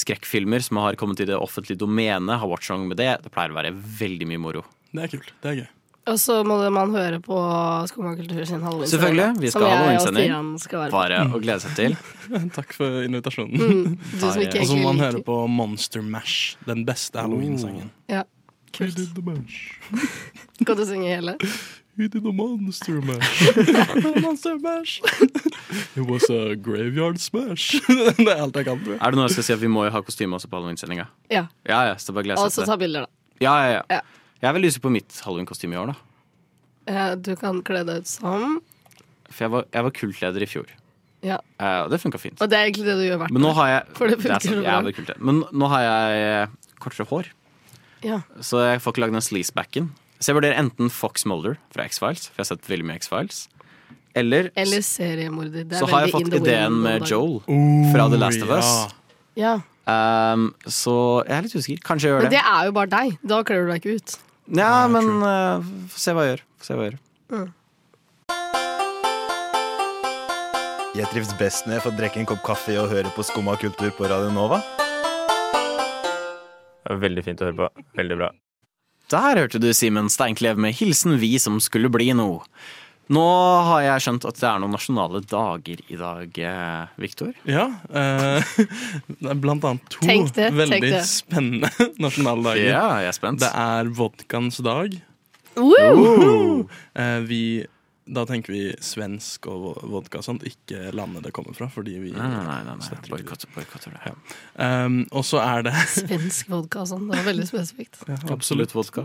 Speaker 3: skrekkfilmer som har kommet i det offentlige domenet, har watchrong med det. Det pleier å være veldig mye moro.
Speaker 6: Det er kult. Det er gøy.
Speaker 5: Og så må det- man høre på Skomakultur sin halloween
Speaker 3: Selvfølgelig, vi skal
Speaker 5: Som
Speaker 3: ha
Speaker 5: jeg og
Speaker 3: halloweensending.
Speaker 5: Stian skal være på.
Speaker 3: Bare å glede seg til.
Speaker 6: Takk for invitasjonen.
Speaker 5: Du som
Speaker 3: Ja,
Speaker 5: ikke
Speaker 6: Og så
Speaker 5: egentlig
Speaker 6: må man
Speaker 5: Mm, liker-
Speaker 6: høre på Monster Mash, den beste halloween-sangen.
Speaker 5: Ja.
Speaker 6: We did the mash.
Speaker 5: Kan du synge hele?
Speaker 6: We did the monster mash. monster mash. It was a graveyard smash. det er alt jeg kan. tror jeg.
Speaker 3: Er det noe jeg skal si at vi må jo ha kostyme også på halloweensendinga?
Speaker 5: Ja.
Speaker 3: Ja, ja, så bare glede
Speaker 5: Og
Speaker 3: seg
Speaker 5: så
Speaker 3: til
Speaker 5: ta
Speaker 3: det.
Speaker 5: bilder, da.
Speaker 3: Ja, ja, ja.
Speaker 5: Ja.
Speaker 3: Jeg er veldig usikker på mitt halloweenkostyme i år, da.
Speaker 5: Eh, Du kan kle deg ut som
Speaker 3: For jeg var, jeg var kultleder i fjor.
Speaker 5: Ja.
Speaker 3: Eh, og det funka fint.
Speaker 5: Og det er egentlig det du gjør hvert
Speaker 3: Men nå har jeg
Speaker 5: For det
Speaker 3: det er
Speaker 5: funker
Speaker 3: sant,
Speaker 5: bra.
Speaker 3: jeg er veldig kultleder. Men nå har jeg eh, kortere hår,
Speaker 5: Ja.
Speaker 3: så jeg får ikke lagd den sleazebacken. Så jeg vurderer enten Fox Mulder fra X-Files, for jeg har sett veldig mye X-Files, eller,
Speaker 5: Eller seriemorder. Det er
Speaker 3: så har jeg
Speaker 5: veldig in
Speaker 3: fått
Speaker 5: the
Speaker 3: ideen
Speaker 5: wind
Speaker 3: med
Speaker 5: om dagen.
Speaker 3: Joel
Speaker 6: Oh,
Speaker 3: fra The Last of Us.
Speaker 5: Ja.
Speaker 6: Ja.
Speaker 3: Um, så jeg er litt usikker. Kanskje jeg gjør
Speaker 5: Men
Speaker 3: det.
Speaker 5: det er jo bare deg. Da kler du deg ikke ut.
Speaker 3: Ja, men eh, få se hva jeg gjør. Få se hva jeg gjør.
Speaker 10: Jeg trives best når jeg får drikke en kopp kaffe og høre på Skumma kultur på Radio Nova.
Speaker 11: Veldig fint å høre på. Veldig bra.
Speaker 3: Der hørte du Simen Steinklev med 'Hilsen vi som skulle bli noe'. Nå har jeg skjønt at det er noen nasjonale dager i dag, eh, Viktor.
Speaker 6: Ja, eh, det er blant annet to
Speaker 5: Tenk det, tenk
Speaker 6: veldig
Speaker 5: det.
Speaker 6: spennende nasjonale dager.
Speaker 3: Ja, jeg er spent.
Speaker 6: Det er vodkaens dag.
Speaker 5: Woo!
Speaker 6: Eh, vi, da tenker vi svensk og vo- vodka og sånt, ikke landet det kommer fra. Fordi vi
Speaker 3: Nei, nei, nei, nei, nei.
Speaker 6: støtter ikke det.
Speaker 3: Boikotter, boikotter. Ja.
Speaker 6: Um, og så er det
Speaker 5: Svensk vodka og sånn. Det var veldig spesifikt.
Speaker 3: Absolutt vodka.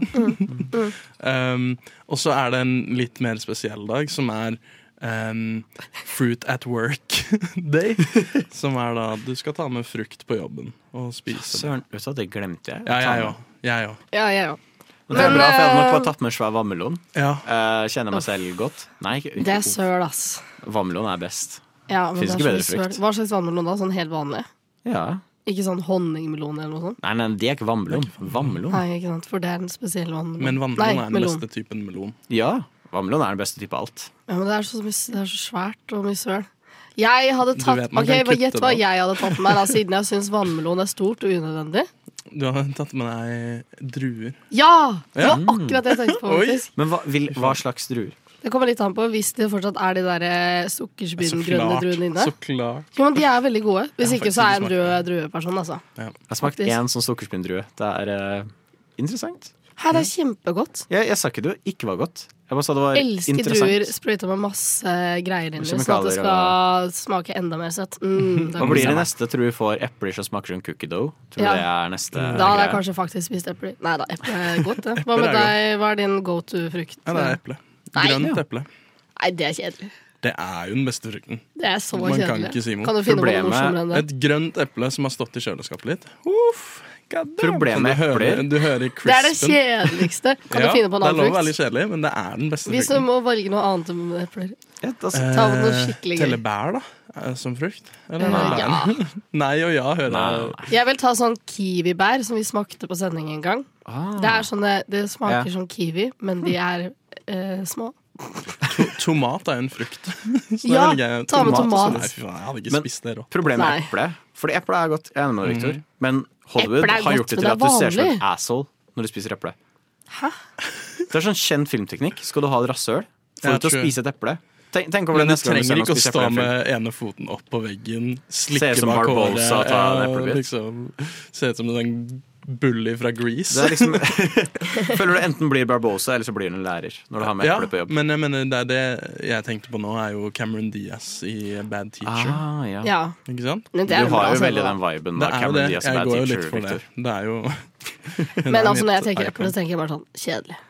Speaker 6: Um, og så er det en litt mer spesiell dag, som er um, Fruit at work day. Som er da at du skal ta med frukt på jobben og spise.
Speaker 3: Søren, vet du hva, det glemte jeg.
Speaker 6: Ja, jeg òg. Jeg òg.
Speaker 5: Ja, jeg òg.
Speaker 3: Men det er bra, for jeg hadde nok bare tatt med en svær vannmelon.
Speaker 6: Ja.
Speaker 3: Eh, kjenner meg selv godt. Nei, ikke-
Speaker 5: Det er søl, ass.
Speaker 3: vannmelon er best.
Speaker 5: Ja, men
Speaker 3: Finnes ikke
Speaker 5: det er så
Speaker 3: bedre
Speaker 5: mye
Speaker 3: frukt.
Speaker 5: søl. Hva slags vannmelon da? Sånn helt vanlig?
Speaker 3: Ja.
Speaker 5: Ikke sånn honningmelon eller noe sånt?
Speaker 3: Nei, nei, det er ikke vannmelon. Vannmelon.
Speaker 5: Nei, ikke sant, for det er en spesiell vannmelon.
Speaker 6: Men vannmelon
Speaker 5: Nei,
Speaker 6: er den
Speaker 5: melon.
Speaker 6: beste typen melon.
Speaker 3: Ja, vannmelon er den beste type av alt.
Speaker 5: Ja, men det er så, mye, det er så svært og mye søl. Jeg hadde
Speaker 6: Du
Speaker 5: tatt,
Speaker 6: vet man
Speaker 5: ok,
Speaker 6: kan
Speaker 5: hva-
Speaker 6: kutte
Speaker 5: Gjett
Speaker 6: det
Speaker 5: hva
Speaker 6: opp.
Speaker 5: jeg hadde tatt med meg, da, siden jeg syns vannmelon er stort og unødvendig.
Speaker 6: Du har tatt med deg druer.
Speaker 5: Ja! Det var akkurat det jeg tenkte på. faktisk
Speaker 3: Men hva, vil, hva slags druer?
Speaker 5: Det kommer litt an på hvis det fortsatt er de der eh, sukkerspinn-grønne druene inne.
Speaker 6: så klart.
Speaker 5: Jo, men De er veldig gode. Hvis
Speaker 6: Jeg har
Speaker 5: ikke så er jeg en
Speaker 6: faktisk
Speaker 5: rød drueperson. altså
Speaker 3: Jeg har smakt
Speaker 5: Faktisk.
Speaker 3: én sånn sukkerspinndrue. Det er eh, interessant.
Speaker 5: Hei, Det er kjempegodt.
Speaker 3: Jeg, jeg sa ikke det ikke var godt. Jeg bare sa det var
Speaker 5: Elsker
Speaker 3: interessant.
Speaker 5: druer sprøyta med masse greier inni, sånn at
Speaker 3: Kjemikalier
Speaker 5: det skal smake enda mer søtt. Mm,
Speaker 3: Hva blir det
Speaker 5: da koser jeg meg.
Speaker 3: neste? Tror du vi får epler som smaker som cookie dough? Tror du
Speaker 5: Ja.
Speaker 3: det er neste
Speaker 5: Da hadde jeg
Speaker 3: greie?
Speaker 5: kanskje faktisk spist eple. Nei da, eple er godt, det. Hva
Speaker 6: Eh, er
Speaker 5: med
Speaker 6: godt.
Speaker 5: deg? Hva er din go to-frukt?
Speaker 6: Ja, det er eple.
Speaker 5: Nei.
Speaker 6: Grønt
Speaker 5: Ja.
Speaker 6: eple.
Speaker 5: Nei, det er kjedelig.
Speaker 6: Det er jo den beste frukten.
Speaker 5: Det er så
Speaker 6: Man kan
Speaker 5: kjedelig.
Speaker 6: ikke si noe.
Speaker 5: Kan du finne på noe
Speaker 3: Problemet-
Speaker 5: morsommere enn det?
Speaker 6: Et grønt eple som har stått i kjøleskapet litt. Uff,
Speaker 3: Problemet
Speaker 6: Du
Speaker 3: er
Speaker 6: hører,
Speaker 3: epler.
Speaker 6: du
Speaker 5: Det er
Speaker 6: hører
Speaker 5: det
Speaker 6: crispen.
Speaker 5: kjedeligste. Kan du finne på en
Speaker 6: det er lov å være
Speaker 5: annen
Speaker 6: litt
Speaker 5: frukt?
Speaker 6: kjedelig, men det er den beste
Speaker 5: Vi som
Speaker 6: frukten.
Speaker 5: må velge noe annet enn epler. Ta med noe
Speaker 6: Eh,
Speaker 5: skikkelig
Speaker 6: Telle
Speaker 5: gøy.
Speaker 6: bær, da? eh, Som frukt?
Speaker 5: Eh,
Speaker 6: Eller nei,
Speaker 5: ja.
Speaker 6: nei. nei og ja, hører jeg.
Speaker 5: Jeg vil ta sånn kiwibær som vi smakte på sending en gang.
Speaker 6: Ah.
Speaker 5: Det, er sånne, det smaker som kiwi, men de er eh, små.
Speaker 6: To- Tomat er jo en frukt. Så da
Speaker 5: Ja,
Speaker 6: velger jeg
Speaker 5: ta med
Speaker 6: og så-
Speaker 5: tomat.
Speaker 6: altså. Nei, fy faen, jeg hadde ikke
Speaker 3: Men
Speaker 6: spist det rå.
Speaker 3: Problemet
Speaker 5: Nei.
Speaker 3: er eple. Fordi eple er godt. Jeg er enig med deg,
Speaker 6: Mm.
Speaker 3: Victor. Men
Speaker 5: Eple
Speaker 3: Hollywood
Speaker 5: er
Speaker 3: har
Speaker 5: godt,
Speaker 3: gjort det til
Speaker 5: men det
Speaker 3: at du
Speaker 5: er
Speaker 3: ser ut som
Speaker 5: vanlig.
Speaker 3: en asshole når du spiser eple. Det er sånn kjent filmteknikk. Skal du ha et rasshøl,
Speaker 6: Ja,
Speaker 3: får du til å
Speaker 6: true.
Speaker 3: spise et eple. Tenk, tenk over det
Speaker 6: Men du
Speaker 3: neste gang du ser
Speaker 6: trenger
Speaker 3: noen
Speaker 6: ikke å
Speaker 3: spise
Speaker 6: stå
Speaker 3: eple. i en film.
Speaker 6: med ene foten opp på veggen,
Speaker 3: Se
Speaker 6: slikke
Speaker 3: som
Speaker 6: bak håret
Speaker 3: Barbosa og ta en
Speaker 6: ja,
Speaker 3: eplebit.
Speaker 6: liksom, Se ut som en sånn bully fra Grease.
Speaker 3: Det er liksom, føler du enten blir Barbosa, eller så blir hun en lærer. Når du har med
Speaker 6: ja,
Speaker 3: eple på jobb.
Speaker 6: men jeg mener det, er det jeg tenkte på nå, er jo Cameron Diaz i Bad Teacher.
Speaker 3: Ah, ja.
Speaker 5: Ja.
Speaker 6: Ikke sant?
Speaker 5: Men
Speaker 3: Du
Speaker 5: det er en bra
Speaker 3: har jo
Speaker 5: scene,
Speaker 3: veldig
Speaker 5: da.
Speaker 3: den viben.
Speaker 6: Det
Speaker 3: Da,
Speaker 6: er jo
Speaker 3: Cameron
Speaker 6: det.
Speaker 3: Diaz og
Speaker 6: Jeg
Speaker 3: Bad
Speaker 6: går jo
Speaker 3: Teacher,
Speaker 6: litt for det.
Speaker 3: Victor.
Speaker 6: Det er jo
Speaker 5: Men altså, når jeg tenker eple,
Speaker 6: icon.
Speaker 5: så tenker jeg bare sånn kjedelig.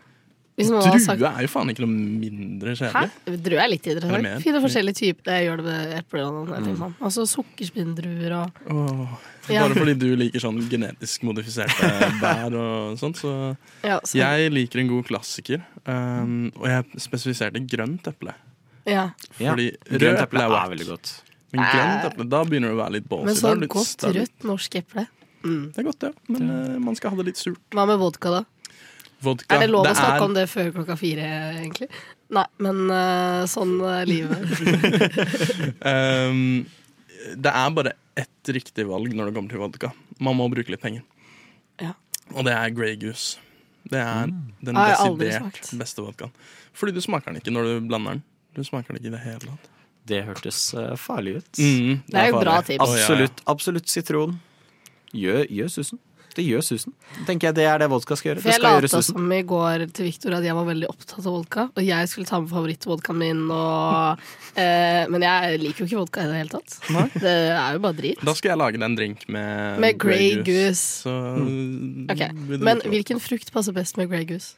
Speaker 5: Hvis noen hadde sagt
Speaker 6: Drue er jo faen ikke noe mindre
Speaker 5: Hæ?
Speaker 6: kjedelig.
Speaker 5: Drue er litt
Speaker 6: Er det mer?
Speaker 5: interessant. Fire forskjellige typer. Jeg gjør det med eplene. jeg tenker sånn. Altså sukkerspinndruer og
Speaker 6: Åh,
Speaker 5: Ja.
Speaker 6: Mm. Bare fordi du liker sånn genetisk modifiserte bær og sånt, så
Speaker 5: ja, så,
Speaker 6: Jeg liker en god klassiker, um, og jeg spesifiserte grønt eple.
Speaker 5: ja.
Speaker 3: Ja.
Speaker 6: Fordi
Speaker 3: Grønt
Speaker 6: rødt
Speaker 3: eple
Speaker 6: eple er
Speaker 3: er
Speaker 6: wack.
Speaker 3: veldig godt.
Speaker 6: Men grønt eple, da begynner det å være litt ballsy.
Speaker 5: Men
Speaker 6: Da
Speaker 5: så
Speaker 6: er det litt-
Speaker 5: godt
Speaker 6: da er det-
Speaker 5: rødt norsk eple. Mm.
Speaker 6: Det er godt, ja. Men eh, man skal ha det litt surt.
Speaker 5: Hva med vodka, da?
Speaker 6: Vodka.
Speaker 5: Er det lov å
Speaker 6: er-
Speaker 5: snakke om det før klokka fire, egentlig? Nei, men eh, sånn er livet.
Speaker 6: Ehm, det er bare ett riktig valg når det kommer til vodka. Man må bruke litt penger.
Speaker 5: Ja.
Speaker 6: Og det er Grey Goose. Det er den
Speaker 5: Har jeg aldri
Speaker 6: desidert
Speaker 5: smakt.
Speaker 6: beste vodkaen. Fordi du smaker den ikke når du blander den. Du smaker den ikke i det hele tatt.
Speaker 3: Det hørtes eh, farlig ut.
Speaker 6: Mm.
Speaker 5: Det er jo
Speaker 6: farlig.
Speaker 5: bra tips.
Speaker 6: Å, ja, ja.
Speaker 3: Absolutt, absolutt sitron. Gjør, gjør susen. Det gjør susen. Tenker jeg Det er det vodka skal gjøre.
Speaker 5: For
Speaker 3: Det
Speaker 5: jeg
Speaker 3: skal gjøre
Speaker 5: lata
Speaker 3: susen.
Speaker 5: som i går til Victor at jeg var veldig opptatt av vodka, og jeg skulle ta med favorittvodkaen min, og, eh, men jeg liker jo ikke vodka i det hele tatt. Det er jo bare drit.
Speaker 6: Da skal jeg lage deg en drink med,
Speaker 5: Med Grey Goose.
Speaker 6: Så,
Speaker 5: Ok,
Speaker 6: vil du
Speaker 5: Men
Speaker 6: like
Speaker 5: hvilken frukt passer best med Grey Goose?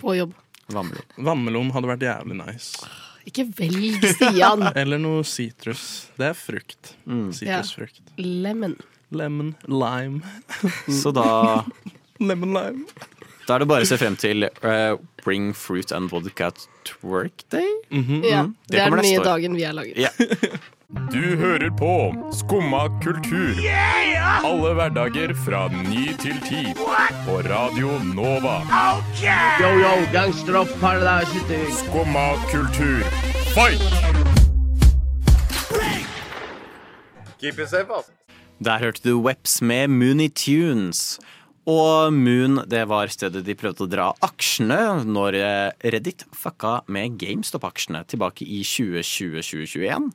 Speaker 5: På jobb.
Speaker 3: Vannmelon.
Speaker 6: vodka. Vannmelon hadde vært jævlig nice.
Speaker 5: Ikke velg Stian!
Speaker 6: Eller noe sitrus. Det er frukt. Sitrusfrukt.
Speaker 5: Lemon.
Speaker 6: Lemon lime.
Speaker 3: Så da,
Speaker 6: Lemon lime.
Speaker 3: da er det bare å se frem til eh, Bring fruit and vodka at work day.
Speaker 5: Ja,
Speaker 3: Det
Speaker 5: det er
Speaker 3: kommer
Speaker 5: den
Speaker 3: neste
Speaker 5: nye
Speaker 3: år.
Speaker 5: dagen vi har laget.
Speaker 12: Du hører på Skumma kultur. Alle hverdager fra ny til ti. På Radio Nova.
Speaker 13: Yo, yo, gangsterrock, paradise
Speaker 12: Skumma kultur. Fight!
Speaker 10: Keep it safe, ass.
Speaker 3: Der hørte du Weps med Mooney Tunes. Og Moon det var stedet de prøvde å dra aksjene når eh, Reddit fucka med GameStop-aksjene tilbake i 2020-2021.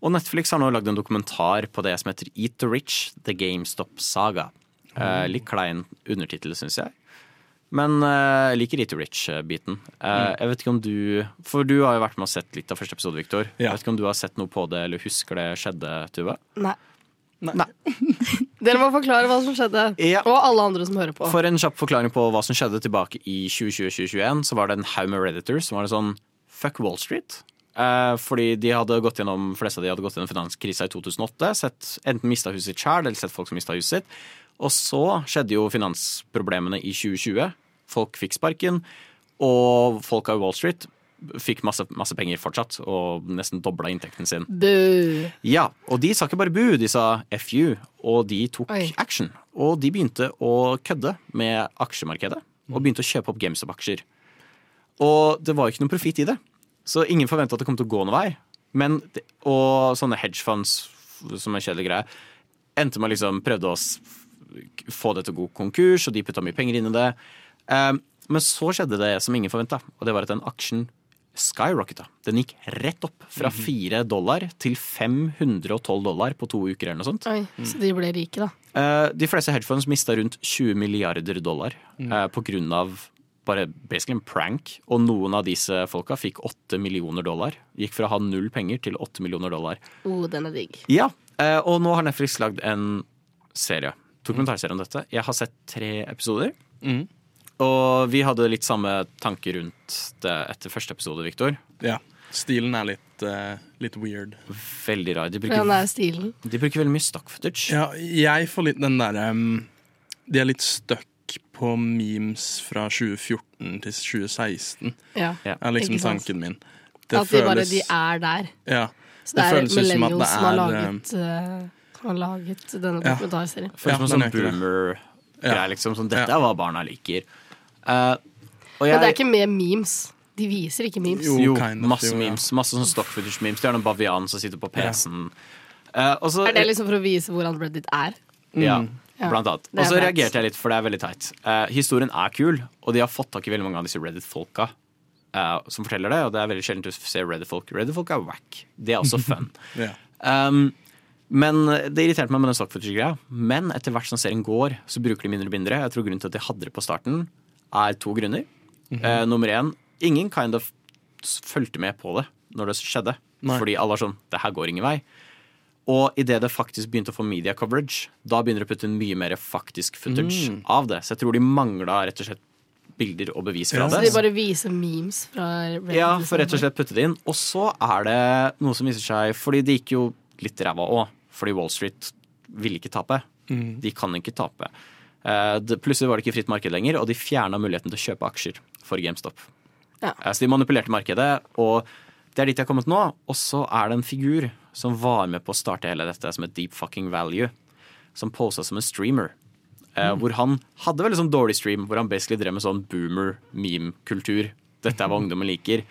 Speaker 3: Og Netflix har nå lagd en dokumentar på det som heter Eat the Rich, The GameStop Saga. Eh, litt klein undertittel, syns jeg. Men eh, jeg liker Eat the Rich-biten. Eh, jeg vet ikke om du For du har jo vært med og sett litt av første episode, Victor.
Speaker 6: Ja.
Speaker 3: Jeg vet ikke om du har sett noe på det, eller husker det skjedde, Tuva?
Speaker 5: Nei.
Speaker 6: Nei.
Speaker 5: Dere må forklare hva som skjedde.
Speaker 3: Ja.
Speaker 5: Og alle andre som hører på.
Speaker 3: For en kjapp forklaring på hva som skjedde tilbake i 2020-2021, så var det en haug med redditors som var det sånn fuck Wall Street. Eh, fordi de hadde gått gjennom, fleste av de hadde gått gjennom finanskrisa i 2008. Sett, enten mista huset sitt sjøl, eller sett folk som mista huset sitt. Og så skjedde jo finansproblemene i 2020. Folk fikk sparken, og folka i Wall Street fikk masse, masse penger fortsatt, og nesten dobla inntekten sin.
Speaker 5: Boo.
Speaker 3: Ja, og de sa ikke bare bu, de sa FU, og de tok
Speaker 5: Oi.
Speaker 3: action. Og de begynte å kødde med aksjemarkedet, og begynte å kjøpe opp GameStop-aksjer. Og det var jo ikke noen profitt i det, så ingen forventa at det kom til å gå noen vei. Men, det- og sånne hedgefunds, som er kjedelig greie, endte med å liksom prøvde å s- få det til å gå konkurs, og de putta mye penger inn i det. Um, Men så skjedde det som ingen forventa, og det var at den aksjen skyrocketa. Den gikk rett opp fra 4 dollar til 512 dollar på to uker eller noe sånt.
Speaker 5: Oi, Så de ble rike, da.
Speaker 3: Eh, De fleste hedgefonds mista rundt 20 milliarder dollar eh, på grunn av bare basically en prank. Og noen av disse folka fikk 8 millioner dollar. Gikk fra å ha null penger til 8 millioner dollar.
Speaker 5: Oh, den er digg.
Speaker 3: Ja, eh, og nå har Netflix lagd en serie. Dokumentarserie om dette. Jeg har sett tre episoder.
Speaker 6: Mhm.
Speaker 3: Og vi hadde litt samme tanke rundt det etter første episode, Viktor.
Speaker 6: Ja. Stilen er litt, eh, litt weird.
Speaker 3: Veldig rar. De
Speaker 5: Den
Speaker 3: bruker,
Speaker 5: er stilen.
Speaker 3: de bruker veldig mye stock footage.
Speaker 6: Ja, jeg får litt den derre um, de er litt stuck på memes fra 2014 til 2016,
Speaker 5: Ja. Ja.
Speaker 6: er liksom
Speaker 5: Ikke sant?
Speaker 6: tanken min.
Speaker 5: at de bare de er der.
Speaker 6: Ja.
Speaker 5: Så det,
Speaker 6: føles
Speaker 5: er
Speaker 6: ut som at
Speaker 5: millennials
Speaker 6: det
Speaker 5: som har
Speaker 6: er,
Speaker 5: laget, eh, som har laget denne
Speaker 6: ja.
Speaker 5: dokumentarserien.
Speaker 3: Føles som en
Speaker 6: den
Speaker 3: sånn
Speaker 6: heter det.
Speaker 3: boomer-greie. Liksom, sånn, Dette er hva barna liker. Eh, og
Speaker 5: Men det er
Speaker 3: jeg,
Speaker 5: ikke med memes. De viser ikke memes.
Speaker 3: jo, masse memes. Masse sånn stock footage-memes. De har noen bavian som sitter på PC-en. Eh, og så-
Speaker 5: Er det liksom for å vise hvordan Reddit er?
Speaker 3: Ja,
Speaker 5: Ja.
Speaker 3: blant annet.
Speaker 5: Det er
Speaker 3: Og så
Speaker 5: fett.
Speaker 3: reagerte jeg litt, for det er veldig teit. Eh, historien er kul, og de har fått tak i veldig mange av disse Reddit-folka eh, som forteller det, og det er veldig sjelden du ser Reddit-folk. Reddit-folk er wack. Det er også fun.
Speaker 6: Ja.
Speaker 3: Um, men Det irriterte meg med den stock footage-greia. Men etter hvert som serien går, så bruker de mindre og mindre. Jeg tror grunnen til at de hadde det på starten, er to grunner.
Speaker 6: Mhm.
Speaker 3: Eh, nummer én, ingen kind of s- fulgte med på det når det skjedde.
Speaker 6: Nei.
Speaker 3: Fordi alle er sånn Det her går ingen vei. Og idet det faktisk begynte å få media coverage, da begynner de å putte inn mye mer faktisk footage
Speaker 5: Mm.
Speaker 3: av det. Så jeg tror de mangla rett og slett bilder og bevis fra
Speaker 5: Så
Speaker 3: det.
Speaker 5: de bare viser memes fra Reddit? liksom?
Speaker 3: Ja, for rett og slett putte det inn. Og så er det noe som viser seg Fordi det gikk jo litt ræva òg. Fordi Wall Street ville ikke tape.
Speaker 6: Mm.
Speaker 3: De kan ikke tape. Eh, det- Plutselig var det ikke fritt marked lenger, og de fjerna muligheten til å kjøpe aksjer for GameStop.
Speaker 5: Ja.
Speaker 3: Eh, Så de manipulerte markedet, og det er dit jeg har kommet nå. Og så er det en figur som var med på å starte hele dette som et deep fucking value. Som posa som en streamer. Eh, Hvor han hadde veldig sånn dårlig stream, hvor han basically drev med sånn boomer-meme-kultur. Dette er hva ungdommen liker.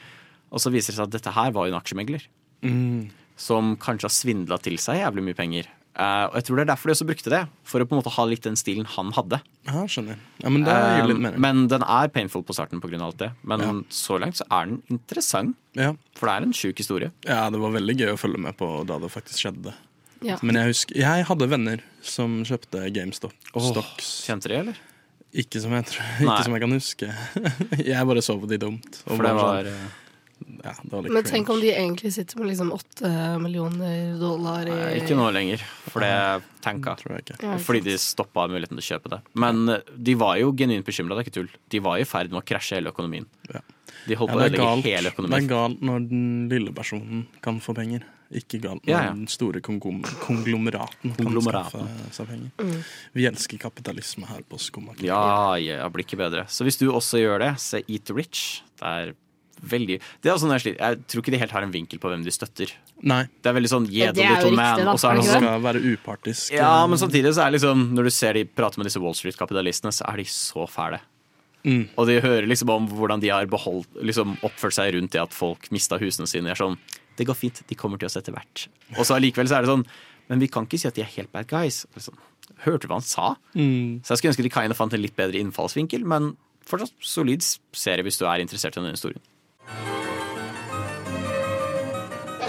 Speaker 3: Og så viser det seg at dette her var jo en aksjemegler
Speaker 6: Mm.
Speaker 3: som kanskje har svindla til seg jævlig mye penger. Eh, og jeg tror det er derfor de også brukte det, for å på en måte ha litt den stilen han hadde.
Speaker 6: Ja, skjønner. Ja, men det gir litt
Speaker 3: Eh,
Speaker 6: mer.
Speaker 3: men den er painful på starten pga. alt det. Men
Speaker 6: Ja.
Speaker 3: så langt så er den interessant,
Speaker 6: Ja.
Speaker 3: for det er en sjuk historie.
Speaker 6: ja, det var veldig gøy å følge med på da det faktisk skjedde.
Speaker 5: Ja.
Speaker 6: Men jeg husker, jeg hadde venner som kjøpte GameStop.
Speaker 3: Åh,
Speaker 6: Stocks.
Speaker 3: Kjente de, eller?
Speaker 6: Ikke som jeg, tror,
Speaker 3: Nei.
Speaker 6: ikke som jeg kan huske. jeg bare så på de dumt.
Speaker 3: For
Speaker 6: og
Speaker 3: det
Speaker 6: bare
Speaker 3: var
Speaker 6: sånn- ja, det var litt
Speaker 5: Men tenk
Speaker 6: cringe.
Speaker 5: om de egentlig sitter med liksom åtte millioner dollar i
Speaker 3: Nei, eh, ikke nå lenger, for det tanka.
Speaker 5: Ja, ikke
Speaker 3: Fordi de stoppa muligheten til å kjøpe det. Men eh, de var jo genuint bekymra, det er ikke tull. De var i ferd med å krasje hele økonomien. De holdt på
Speaker 6: Ja,
Speaker 3: å
Speaker 6: det, er
Speaker 3: ødelegge
Speaker 6: galt.
Speaker 3: hele
Speaker 6: det er
Speaker 3: økonomien.
Speaker 6: galt når den lille personen kan få penger. Ikke galt når
Speaker 3: Ja, ja.
Speaker 6: den store kongom- konglomeraten kan skaffe
Speaker 3: Konglomeraten.
Speaker 6: seg penger.
Speaker 3: Mm.
Speaker 6: Vi elsker kapitalisme her på Skumma.
Speaker 3: Ja, ja, blir ikke bedre. Så hvis du også gjør det, se Eat Rich. Det er veldig Det er også noe jeg sliter Jeg tror ikke de helt har en vinkel på hvem de støtter.
Speaker 6: Nei.
Speaker 3: Det er veldig sånn yeah, the
Speaker 5: det er
Speaker 3: little
Speaker 5: jo riktig,
Speaker 3: man.
Speaker 5: da.
Speaker 3: Og så er det
Speaker 5: Er det ikke
Speaker 3: sånn
Speaker 6: Skal være upartisk.
Speaker 3: Ja, men samtidig så er det liksom Når du ser de prater med disse Wall Street-kapitalistene, så er de så fæle.
Speaker 6: Mm.
Speaker 3: Og de hører liksom om hvordan de har beholdt, liksom oppført seg rundt det at folk mista husene sine. De er sånn Det går fint, de kommer til oss etter hvert. Og så allikevel så er det sånn Men vi kan ikke si at de er helt bad guys. Liksom. Hørte du hva han sa?
Speaker 6: Mm.
Speaker 3: Så jeg skulle ønske de kind of fant en litt bedre innfallsvinkel, men fortsatt solid serie hvis du er interessert i denne historien.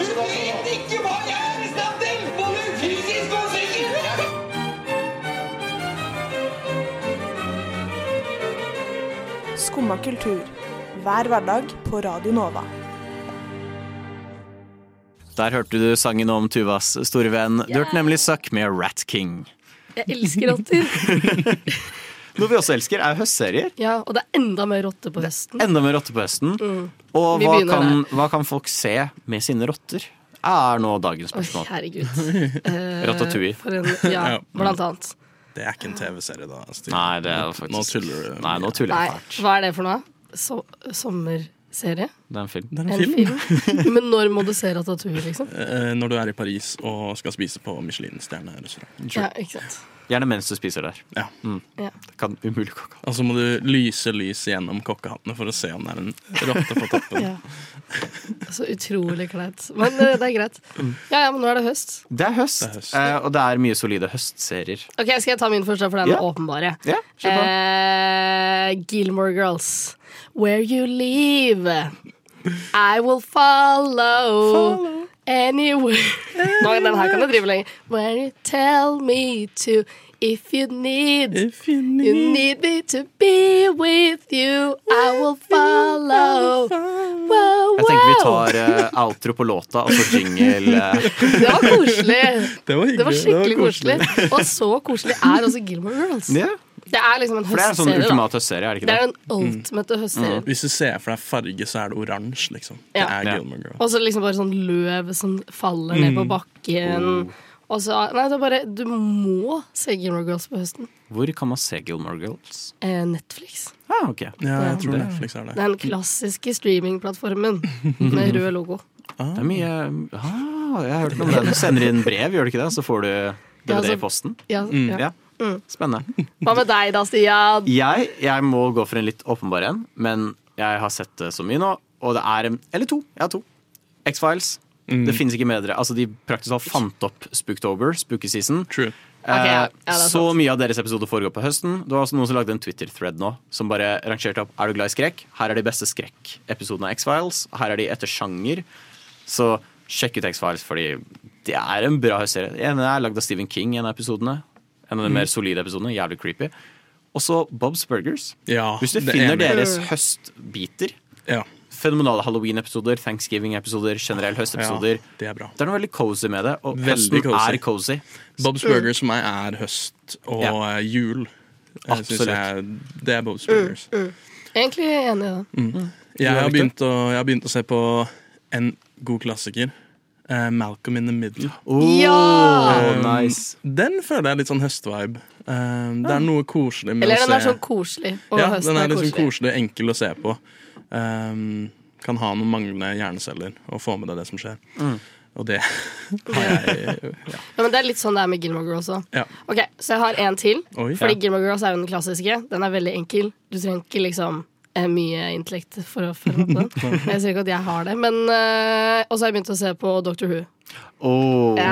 Speaker 14: Du vet ikke hva jeg er i stand til! Både fysisk og psykisk!
Speaker 15: Skumma kultur. Hver hverdag på Radio Nova.
Speaker 3: Der hørte du sangen om Tuvas store venn. Du hørte nemlig Suck med Rat King.
Speaker 5: Jeg elsker rotter.
Speaker 3: Noe vi også elsker, er høstserier.
Speaker 5: Ja, og det er enda mer rotter på høsten.
Speaker 3: Enda med rotte på høsten.
Speaker 5: Mm.
Speaker 3: Og
Speaker 5: Vi
Speaker 3: hva
Speaker 5: begynner
Speaker 3: kan, hva kan folk se med sine rotter? Er nå dagens
Speaker 5: Oi,
Speaker 3: spørsmål.
Speaker 5: herregud. Eh,
Speaker 3: Ratatouille.
Speaker 5: for en, ja,
Speaker 3: Ja.
Speaker 5: blant annet.
Speaker 6: Det er ikke en TV-serie, da. Stil.
Speaker 3: Nei, det er faktisk
Speaker 6: Nå tuller du.
Speaker 3: Nei, nå tuller
Speaker 5: Nei,
Speaker 3: jeg fælt.
Speaker 5: hva er det for noe? So sommerserie?
Speaker 3: Det er en film.
Speaker 6: Det er
Speaker 5: En
Speaker 6: en film.
Speaker 5: film? Men når må du se Ratatouille, liksom?
Speaker 6: Eh, Når du er i Paris og skal spise på Michelin-stjernerestaurant.
Speaker 5: Ja, ikke sant.
Speaker 3: Gjerne mens du spiser der.
Speaker 6: Ja.
Speaker 5: Ja.
Speaker 3: Det kan umulig gå
Speaker 6: Og så må du lyse lys gjennom kokkehattene for å se om det er en rotte på toppen.
Speaker 5: Ja. Så utrolig kleint. Men eh, det er greit. Ja, ja, men nå er det høst.
Speaker 3: Det er høst, eh, og det er mye solide høstserier.
Speaker 5: Ok, Skal jeg ta min først, da, for den
Speaker 3: Ja.
Speaker 5: er åpenbare?
Speaker 3: Ja, kjør på.
Speaker 5: eh, Gilmore Girls. Where you leave, I will follow, anywhere. Nå, den her kan du drive lenge. Where you tell me to if you need, you need me to be with you, I will follow. Wow,
Speaker 3: Jeg tenker vi
Speaker 5: wow.
Speaker 3: tar eh, outro på låta og så jingle. eh.
Speaker 5: Det var koselig.
Speaker 3: Det var hyggelig,
Speaker 5: Det var skikkelig
Speaker 3: det var koselig.
Speaker 5: koselig. Og så koselig er også Gilmore Girls.
Speaker 3: Ja.
Speaker 5: Det er liksom en
Speaker 3: For det er en sånn
Speaker 5: høstserie. da.
Speaker 3: ultimat høstserie, er det
Speaker 5: Det
Speaker 3: ikke
Speaker 5: er
Speaker 3: det?
Speaker 5: den ultimate
Speaker 6: Mm.
Speaker 5: høstserien.
Speaker 6: Hvis du ser for deg farge, så er det oransje, liksom. Det
Speaker 5: Ja.
Speaker 6: er
Speaker 5: Ja.
Speaker 6: Gilmore Girls.
Speaker 5: Og så liksom bare sånn løv som faller ned på
Speaker 6: Mm.
Speaker 5: bakken. Og så, nei, det er bare Du må se Gilmore Girls på høsten.
Speaker 3: Hvor kan man se Gilmore Girls?
Speaker 5: Eh, Netflix.
Speaker 3: Ah, ok.
Speaker 6: Ja, jeg tror Netflix er det.
Speaker 5: Den klassiske streamingplattformen med rød logo.
Speaker 3: Det er mye ah, Jeg har hørt noe om det. Du sender inn brev, gjør du ikke det? Så får du
Speaker 5: Ja,
Speaker 3: DVD
Speaker 5: så-
Speaker 3: i posten.
Speaker 5: Ja,
Speaker 3: Mm.
Speaker 5: ja.
Speaker 3: Ja.
Speaker 5: Mm.
Speaker 3: Spennende.
Speaker 5: Hva med deg da, Stian?
Speaker 3: Jeg, jeg må gå for en litt åpenbar en, men jeg har sett det så mye nå, og det er en- Eller to. Jeg har to. X-Files. Det finnes ikke bedre. Altså, de praktisk talt fant opp Spooktober, spookeseason.
Speaker 5: Ok, ja. Ja, det er
Speaker 3: Eh, så mye av deres episode foregår på høsten. Det var også noen som lagde en Twitter-thread nå som bare rangerte opp Er du glad i skrekk? Her er de beste skrekk-episodene av X-Files. Her er de etter sjanger. Så sjekk ut X-Files, fordi det er en bra serie. En er lagd av Stephen King, en av episodene. En av de
Speaker 6: Mm.
Speaker 3: mer solide episodene. Jævlig creepy. Og så Bob's Burgers.
Speaker 6: Ja,
Speaker 3: Hvis du
Speaker 6: det er
Speaker 3: finner
Speaker 6: enig.
Speaker 3: deres høstbiter Fenomenale Halloween-episoder, Thanksgiving-episoder, generell høstepisoder.
Speaker 6: Ja, det er bra.
Speaker 3: Det er noe veldig cozy med det, og
Speaker 6: Veldig
Speaker 3: høsten
Speaker 6: cozy.
Speaker 3: er cozy.
Speaker 6: Bob's Burgers for meg er høst og
Speaker 3: Ja.
Speaker 6: eh, jul. Eh, synes
Speaker 3: Absolutt.
Speaker 6: Jeg, det er Bob's Burgers.
Speaker 5: Mm, Egentlig enig i det.
Speaker 6: Mm. Jeg, har begynt å, jeg har begynt å se på en god klassiker. eh, Malcolm in the Middle.
Speaker 5: Ja!
Speaker 6: Um,
Speaker 3: Nice.
Speaker 6: Den føler jeg er litt sånn høstvibe. Um, det er noe koselig med
Speaker 5: Eller
Speaker 6: å
Speaker 5: den
Speaker 6: se
Speaker 5: er sånn koselig. Og
Speaker 6: Ja,
Speaker 5: høsten
Speaker 6: den er litt sånn
Speaker 5: koselig.
Speaker 6: koselig, enkel å se på. Um, kan ha noen manglende hjerneceller og få med deg det som skjer.
Speaker 3: Mm.
Speaker 6: Og det har jeg ja.
Speaker 5: Ja, men det er litt sånn det er med Gilmore Girls også.
Speaker 6: ja.
Speaker 5: Ok, Så jeg har en til.
Speaker 6: Oi.
Speaker 5: fordi
Speaker 6: Ja.
Speaker 5: Gilmore Girls er jo den klassiske. Den er veldig enkel. Du trenger ikke liksom eh, mye intellekt for å følge med på den. Jeg sier ikke at jeg har det, men eh, Og så har jeg begynt å se på Doctor Who.
Speaker 3: Åh, ja.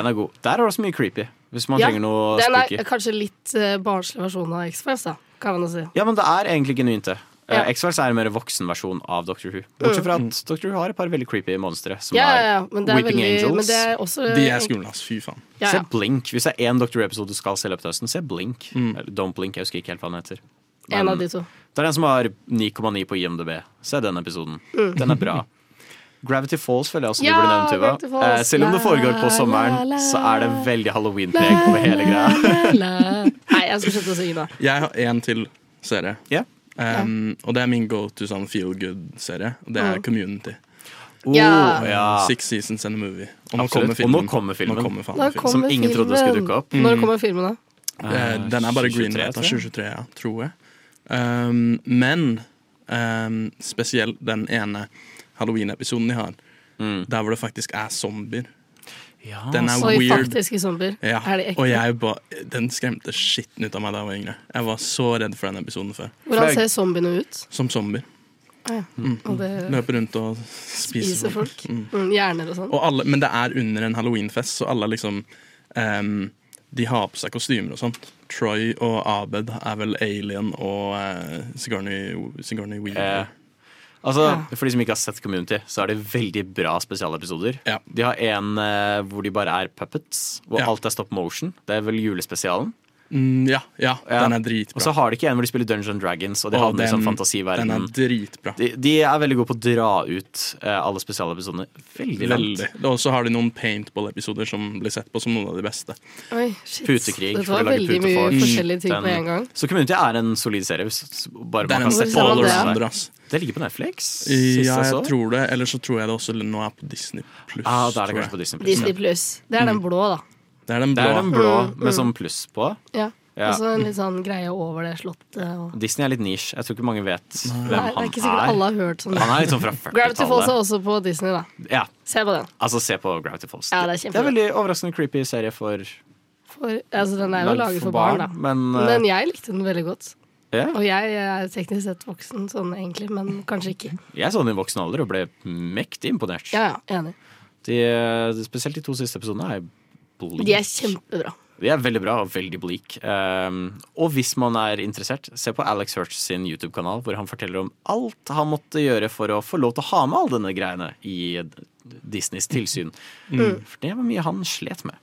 Speaker 3: Den er god. Der har du også mye creepy, hvis man
Speaker 5: Ja,
Speaker 3: trenger noe
Speaker 5: Den er
Speaker 3: spooky.
Speaker 5: kanskje litt eh, barnslig versjon av X-Files, da. Kan man jo si.
Speaker 3: Ja, men det er egentlig genuint, det.
Speaker 5: Ja. Mm.
Speaker 3: Eh, X-Files er en mer voksen versjon av Doctor Who. Bortsett fra at Doctor Who har et par veldig creepy monstre, som
Speaker 5: Ja, ja, ja, men det
Speaker 3: er
Speaker 5: er
Speaker 3: Weeping
Speaker 5: veldig-
Speaker 3: Angels.
Speaker 5: men det er også-
Speaker 6: De er skumle, ass. Fy faen.
Speaker 5: Ja, ja.
Speaker 3: Se Blink. Hvis det er én Doctor Who-episode du skal se i løpet av høsten, se Blink. Eller Don't Blink, jeg husker ikke helt hva den heter.
Speaker 5: En av de to.
Speaker 3: Det er den som har 9,9 på IMDb. Se den episoden.
Speaker 5: Mm.
Speaker 3: Den er bra. Gravity Falls føler jeg også
Speaker 5: Ja,
Speaker 3: du burde nevnt,
Speaker 5: Gravity
Speaker 3: Tuva.
Speaker 5: Falls.
Speaker 3: Eh, selv om det foregår på
Speaker 5: La, la,
Speaker 3: sommeren,
Speaker 5: la.
Speaker 3: så er det veldig halloween-preg over hele greia.
Speaker 5: Nei, jeg skal slutte å synge nå.
Speaker 6: Jeg har én til serie. Um, og det er min go to sånn feel good-serie. Og det er
Speaker 5: Mm.
Speaker 6: Community.
Speaker 5: Ja.
Speaker 6: Uh,
Speaker 3: Oh, Ja.
Speaker 6: Six seasons and a movie. Og nå
Speaker 3: Absolutt.
Speaker 6: kommer
Speaker 3: Og
Speaker 6: filmen.
Speaker 3: nå kommer filmen.
Speaker 6: Nå kommer faen
Speaker 5: Når
Speaker 6: filmen.
Speaker 5: kommer filmen?
Speaker 3: Mm.
Speaker 5: Når kommer filmen, da?
Speaker 6: Eh, den er bare
Speaker 3: 2023,
Speaker 6: greenlighta
Speaker 3: tror jeg.
Speaker 6: 2023, ja, tror jeg. Um, men um, spesielt den ene halloween-episoden de har,
Speaker 3: Mm.
Speaker 6: der hvor det faktisk er zombier. den er
Speaker 5: Oi,
Speaker 6: weird.
Speaker 5: faktiske zombier.
Speaker 6: Ja.
Speaker 5: Er de ekte?
Speaker 6: Og jeg ba, den skremte skitten ut av meg da jeg var yngre. Jeg var så redd for den episoden før.
Speaker 5: Hvordan ser zombiene ut?
Speaker 6: Som zombier.
Speaker 5: Ah, ja.
Speaker 6: Mm.
Speaker 5: Og det
Speaker 6: Løper rundt og spiser,
Speaker 5: spiser folk.
Speaker 6: Mm.
Speaker 5: Mm, hjerner og sånn.
Speaker 6: Og alle, men det er under en halloweenfest, så alle liksom ehm, De har på seg kostymer og sånt. Troy og Abed er vel Alien og eh, Sigourney, Sigourney Weaver.
Speaker 3: Altså, For de som ikke har sett Community, så er det veldig bra spesialepisoder. De har en eh, hvor de bare er puppets, hvor
Speaker 6: Ja.
Speaker 3: alt er stop motion. Det er vel julespesialen.
Speaker 6: Mm, ja, ja,
Speaker 3: Ja.
Speaker 6: den er dritbra.
Speaker 3: Og så har de ikke en hvor de spiller Dungeons and Dragons, og de
Speaker 6: Å,
Speaker 3: havner i sånn
Speaker 6: den-
Speaker 3: fantasiverden.
Speaker 6: Den er dritbra.
Speaker 3: de, de er veldig gode på å dra ut eh, alle spesialepisodene veldig langt.
Speaker 6: Veldig. Og så har de noen paintball-episoder som blir sett på som noen av de beste.
Speaker 5: Oi, shit.
Speaker 3: Putekrig.
Speaker 5: Dette
Speaker 3: hvor de
Speaker 5: var
Speaker 3: lager
Speaker 5: veldig mye
Speaker 3: putefart.
Speaker 5: forskjellige ting på
Speaker 3: Den-
Speaker 5: en gang.
Speaker 3: Mm. Så Community er en solid serie. hvis- s- Bare
Speaker 6: Det er
Speaker 3: man kan
Speaker 6: en
Speaker 3: sette
Speaker 6: all
Speaker 3: det.
Speaker 6: arounder, ass.
Speaker 3: Det ligger på Netflix. sist
Speaker 6: Ja, jeg
Speaker 3: så.
Speaker 6: tror det. Eller så tror jeg det også nå er på Disney pluss.
Speaker 3: Ja, da er det
Speaker 6: tror jeg.
Speaker 3: kanskje på Disney+.
Speaker 5: Disney pluss. Det
Speaker 3: Mm.
Speaker 5: er den blå, da.
Speaker 6: Det er den
Speaker 3: Det
Speaker 6: blå.
Speaker 3: er den blå
Speaker 5: Mm, mm.
Speaker 3: med sånn pluss på.
Speaker 5: Ja.
Speaker 3: Ja.
Speaker 5: Og så en litt sånn greie over det slottet. Og...
Speaker 3: Disney er litt nisj. Jeg tror ikke mange vet hvem
Speaker 5: Nei, det
Speaker 3: han
Speaker 5: er ikke sikkert alle har hørt sånn.
Speaker 3: Han er litt sånn fra 40-tallet.
Speaker 5: Gravity Falls er også på Disney, da.
Speaker 3: Ja,
Speaker 5: Se på den.
Speaker 3: altså se på Gravity Falls.
Speaker 5: Ja, det er
Speaker 3: det er
Speaker 5: kjempebra.
Speaker 3: veldig overraskende creepy serie for
Speaker 5: For, altså, den er jo
Speaker 3: Lagd
Speaker 5: laget
Speaker 3: for
Speaker 5: for
Speaker 3: barn,
Speaker 5: barn, da.
Speaker 3: men, eh,
Speaker 5: men jeg likte den veldig godt.
Speaker 3: Ja.
Speaker 5: Og jeg er teknisk sett voksen sånn egentlig, men kanskje ikke.
Speaker 3: Jeg så den i voksen alder og ble mektig imponert.
Speaker 5: Ja, ja, enig.
Speaker 3: De, eh, spesielt de to siste episodene er bleak.
Speaker 5: De er kjempebra.
Speaker 3: De er veldig bra og veldig bleak. Um, og hvis man er interessert, se på Alex Hirsch sin YouTube-kanal, hvor han forteller om alt han måtte gjøre for å få lov til å ha med alle denne greiene i Disneys tilsyn.
Speaker 2: Mm.
Speaker 3: For det var mye han slet med.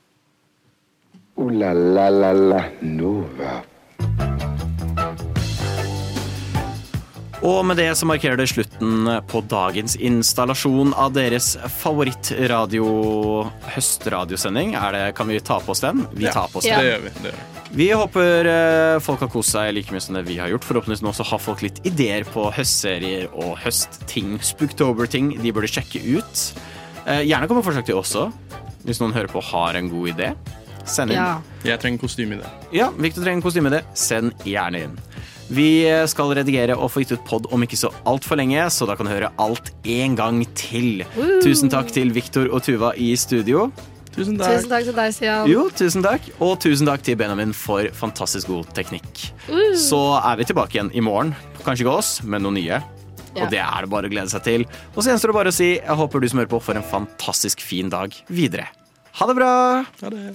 Speaker 2: Ooh la la la la Nova.
Speaker 3: Og med det så markerer det slutten på dagens installasjon av deres favorittradio-høstradiosending. Er det- Kan vi ta på oss den? Vi
Speaker 6: Ja,
Speaker 3: tar på oss
Speaker 6: det
Speaker 3: den.
Speaker 6: gjør vi. Det gjør vi.
Speaker 3: Vi håper eh, folk har kost seg like mye som det vi har gjort. Forhåpentligvis nå så har folk litt ideer på høstserier og høstting, spooktober-ting de burde sjekke ut. Eh, Gjerne kom med forslag til oss også. Hvis noen hører på og har en god idé, send inn.
Speaker 6: Ja. Jeg trenger kostymeidé.
Speaker 3: Ja, Victor trenger kostymeidé. Send gjerne inn. Vi eh, skal redigere og få gitt ut pod om ikke så altfor lenge, så da kan du høre alt en gang til.
Speaker 5: Woo!
Speaker 3: Tusen takk til Victor og Tuva i studio.
Speaker 6: Tusen
Speaker 5: Tusen takk til deg, Sian.
Speaker 3: Jo, tusen takk. Og tusen takk til Benjamin for fantastisk god teknikk.
Speaker 5: Woo!
Speaker 3: Så er vi tilbake igjen i morgen. Kanskje ikke oss, men noen nye.
Speaker 5: Ja.
Speaker 3: Og det er det bare å glede seg til. Og så gjenstår det bare å si jeg håper du som hører på, får en fantastisk fin dag videre. Ha det bra!
Speaker 5: Ha det.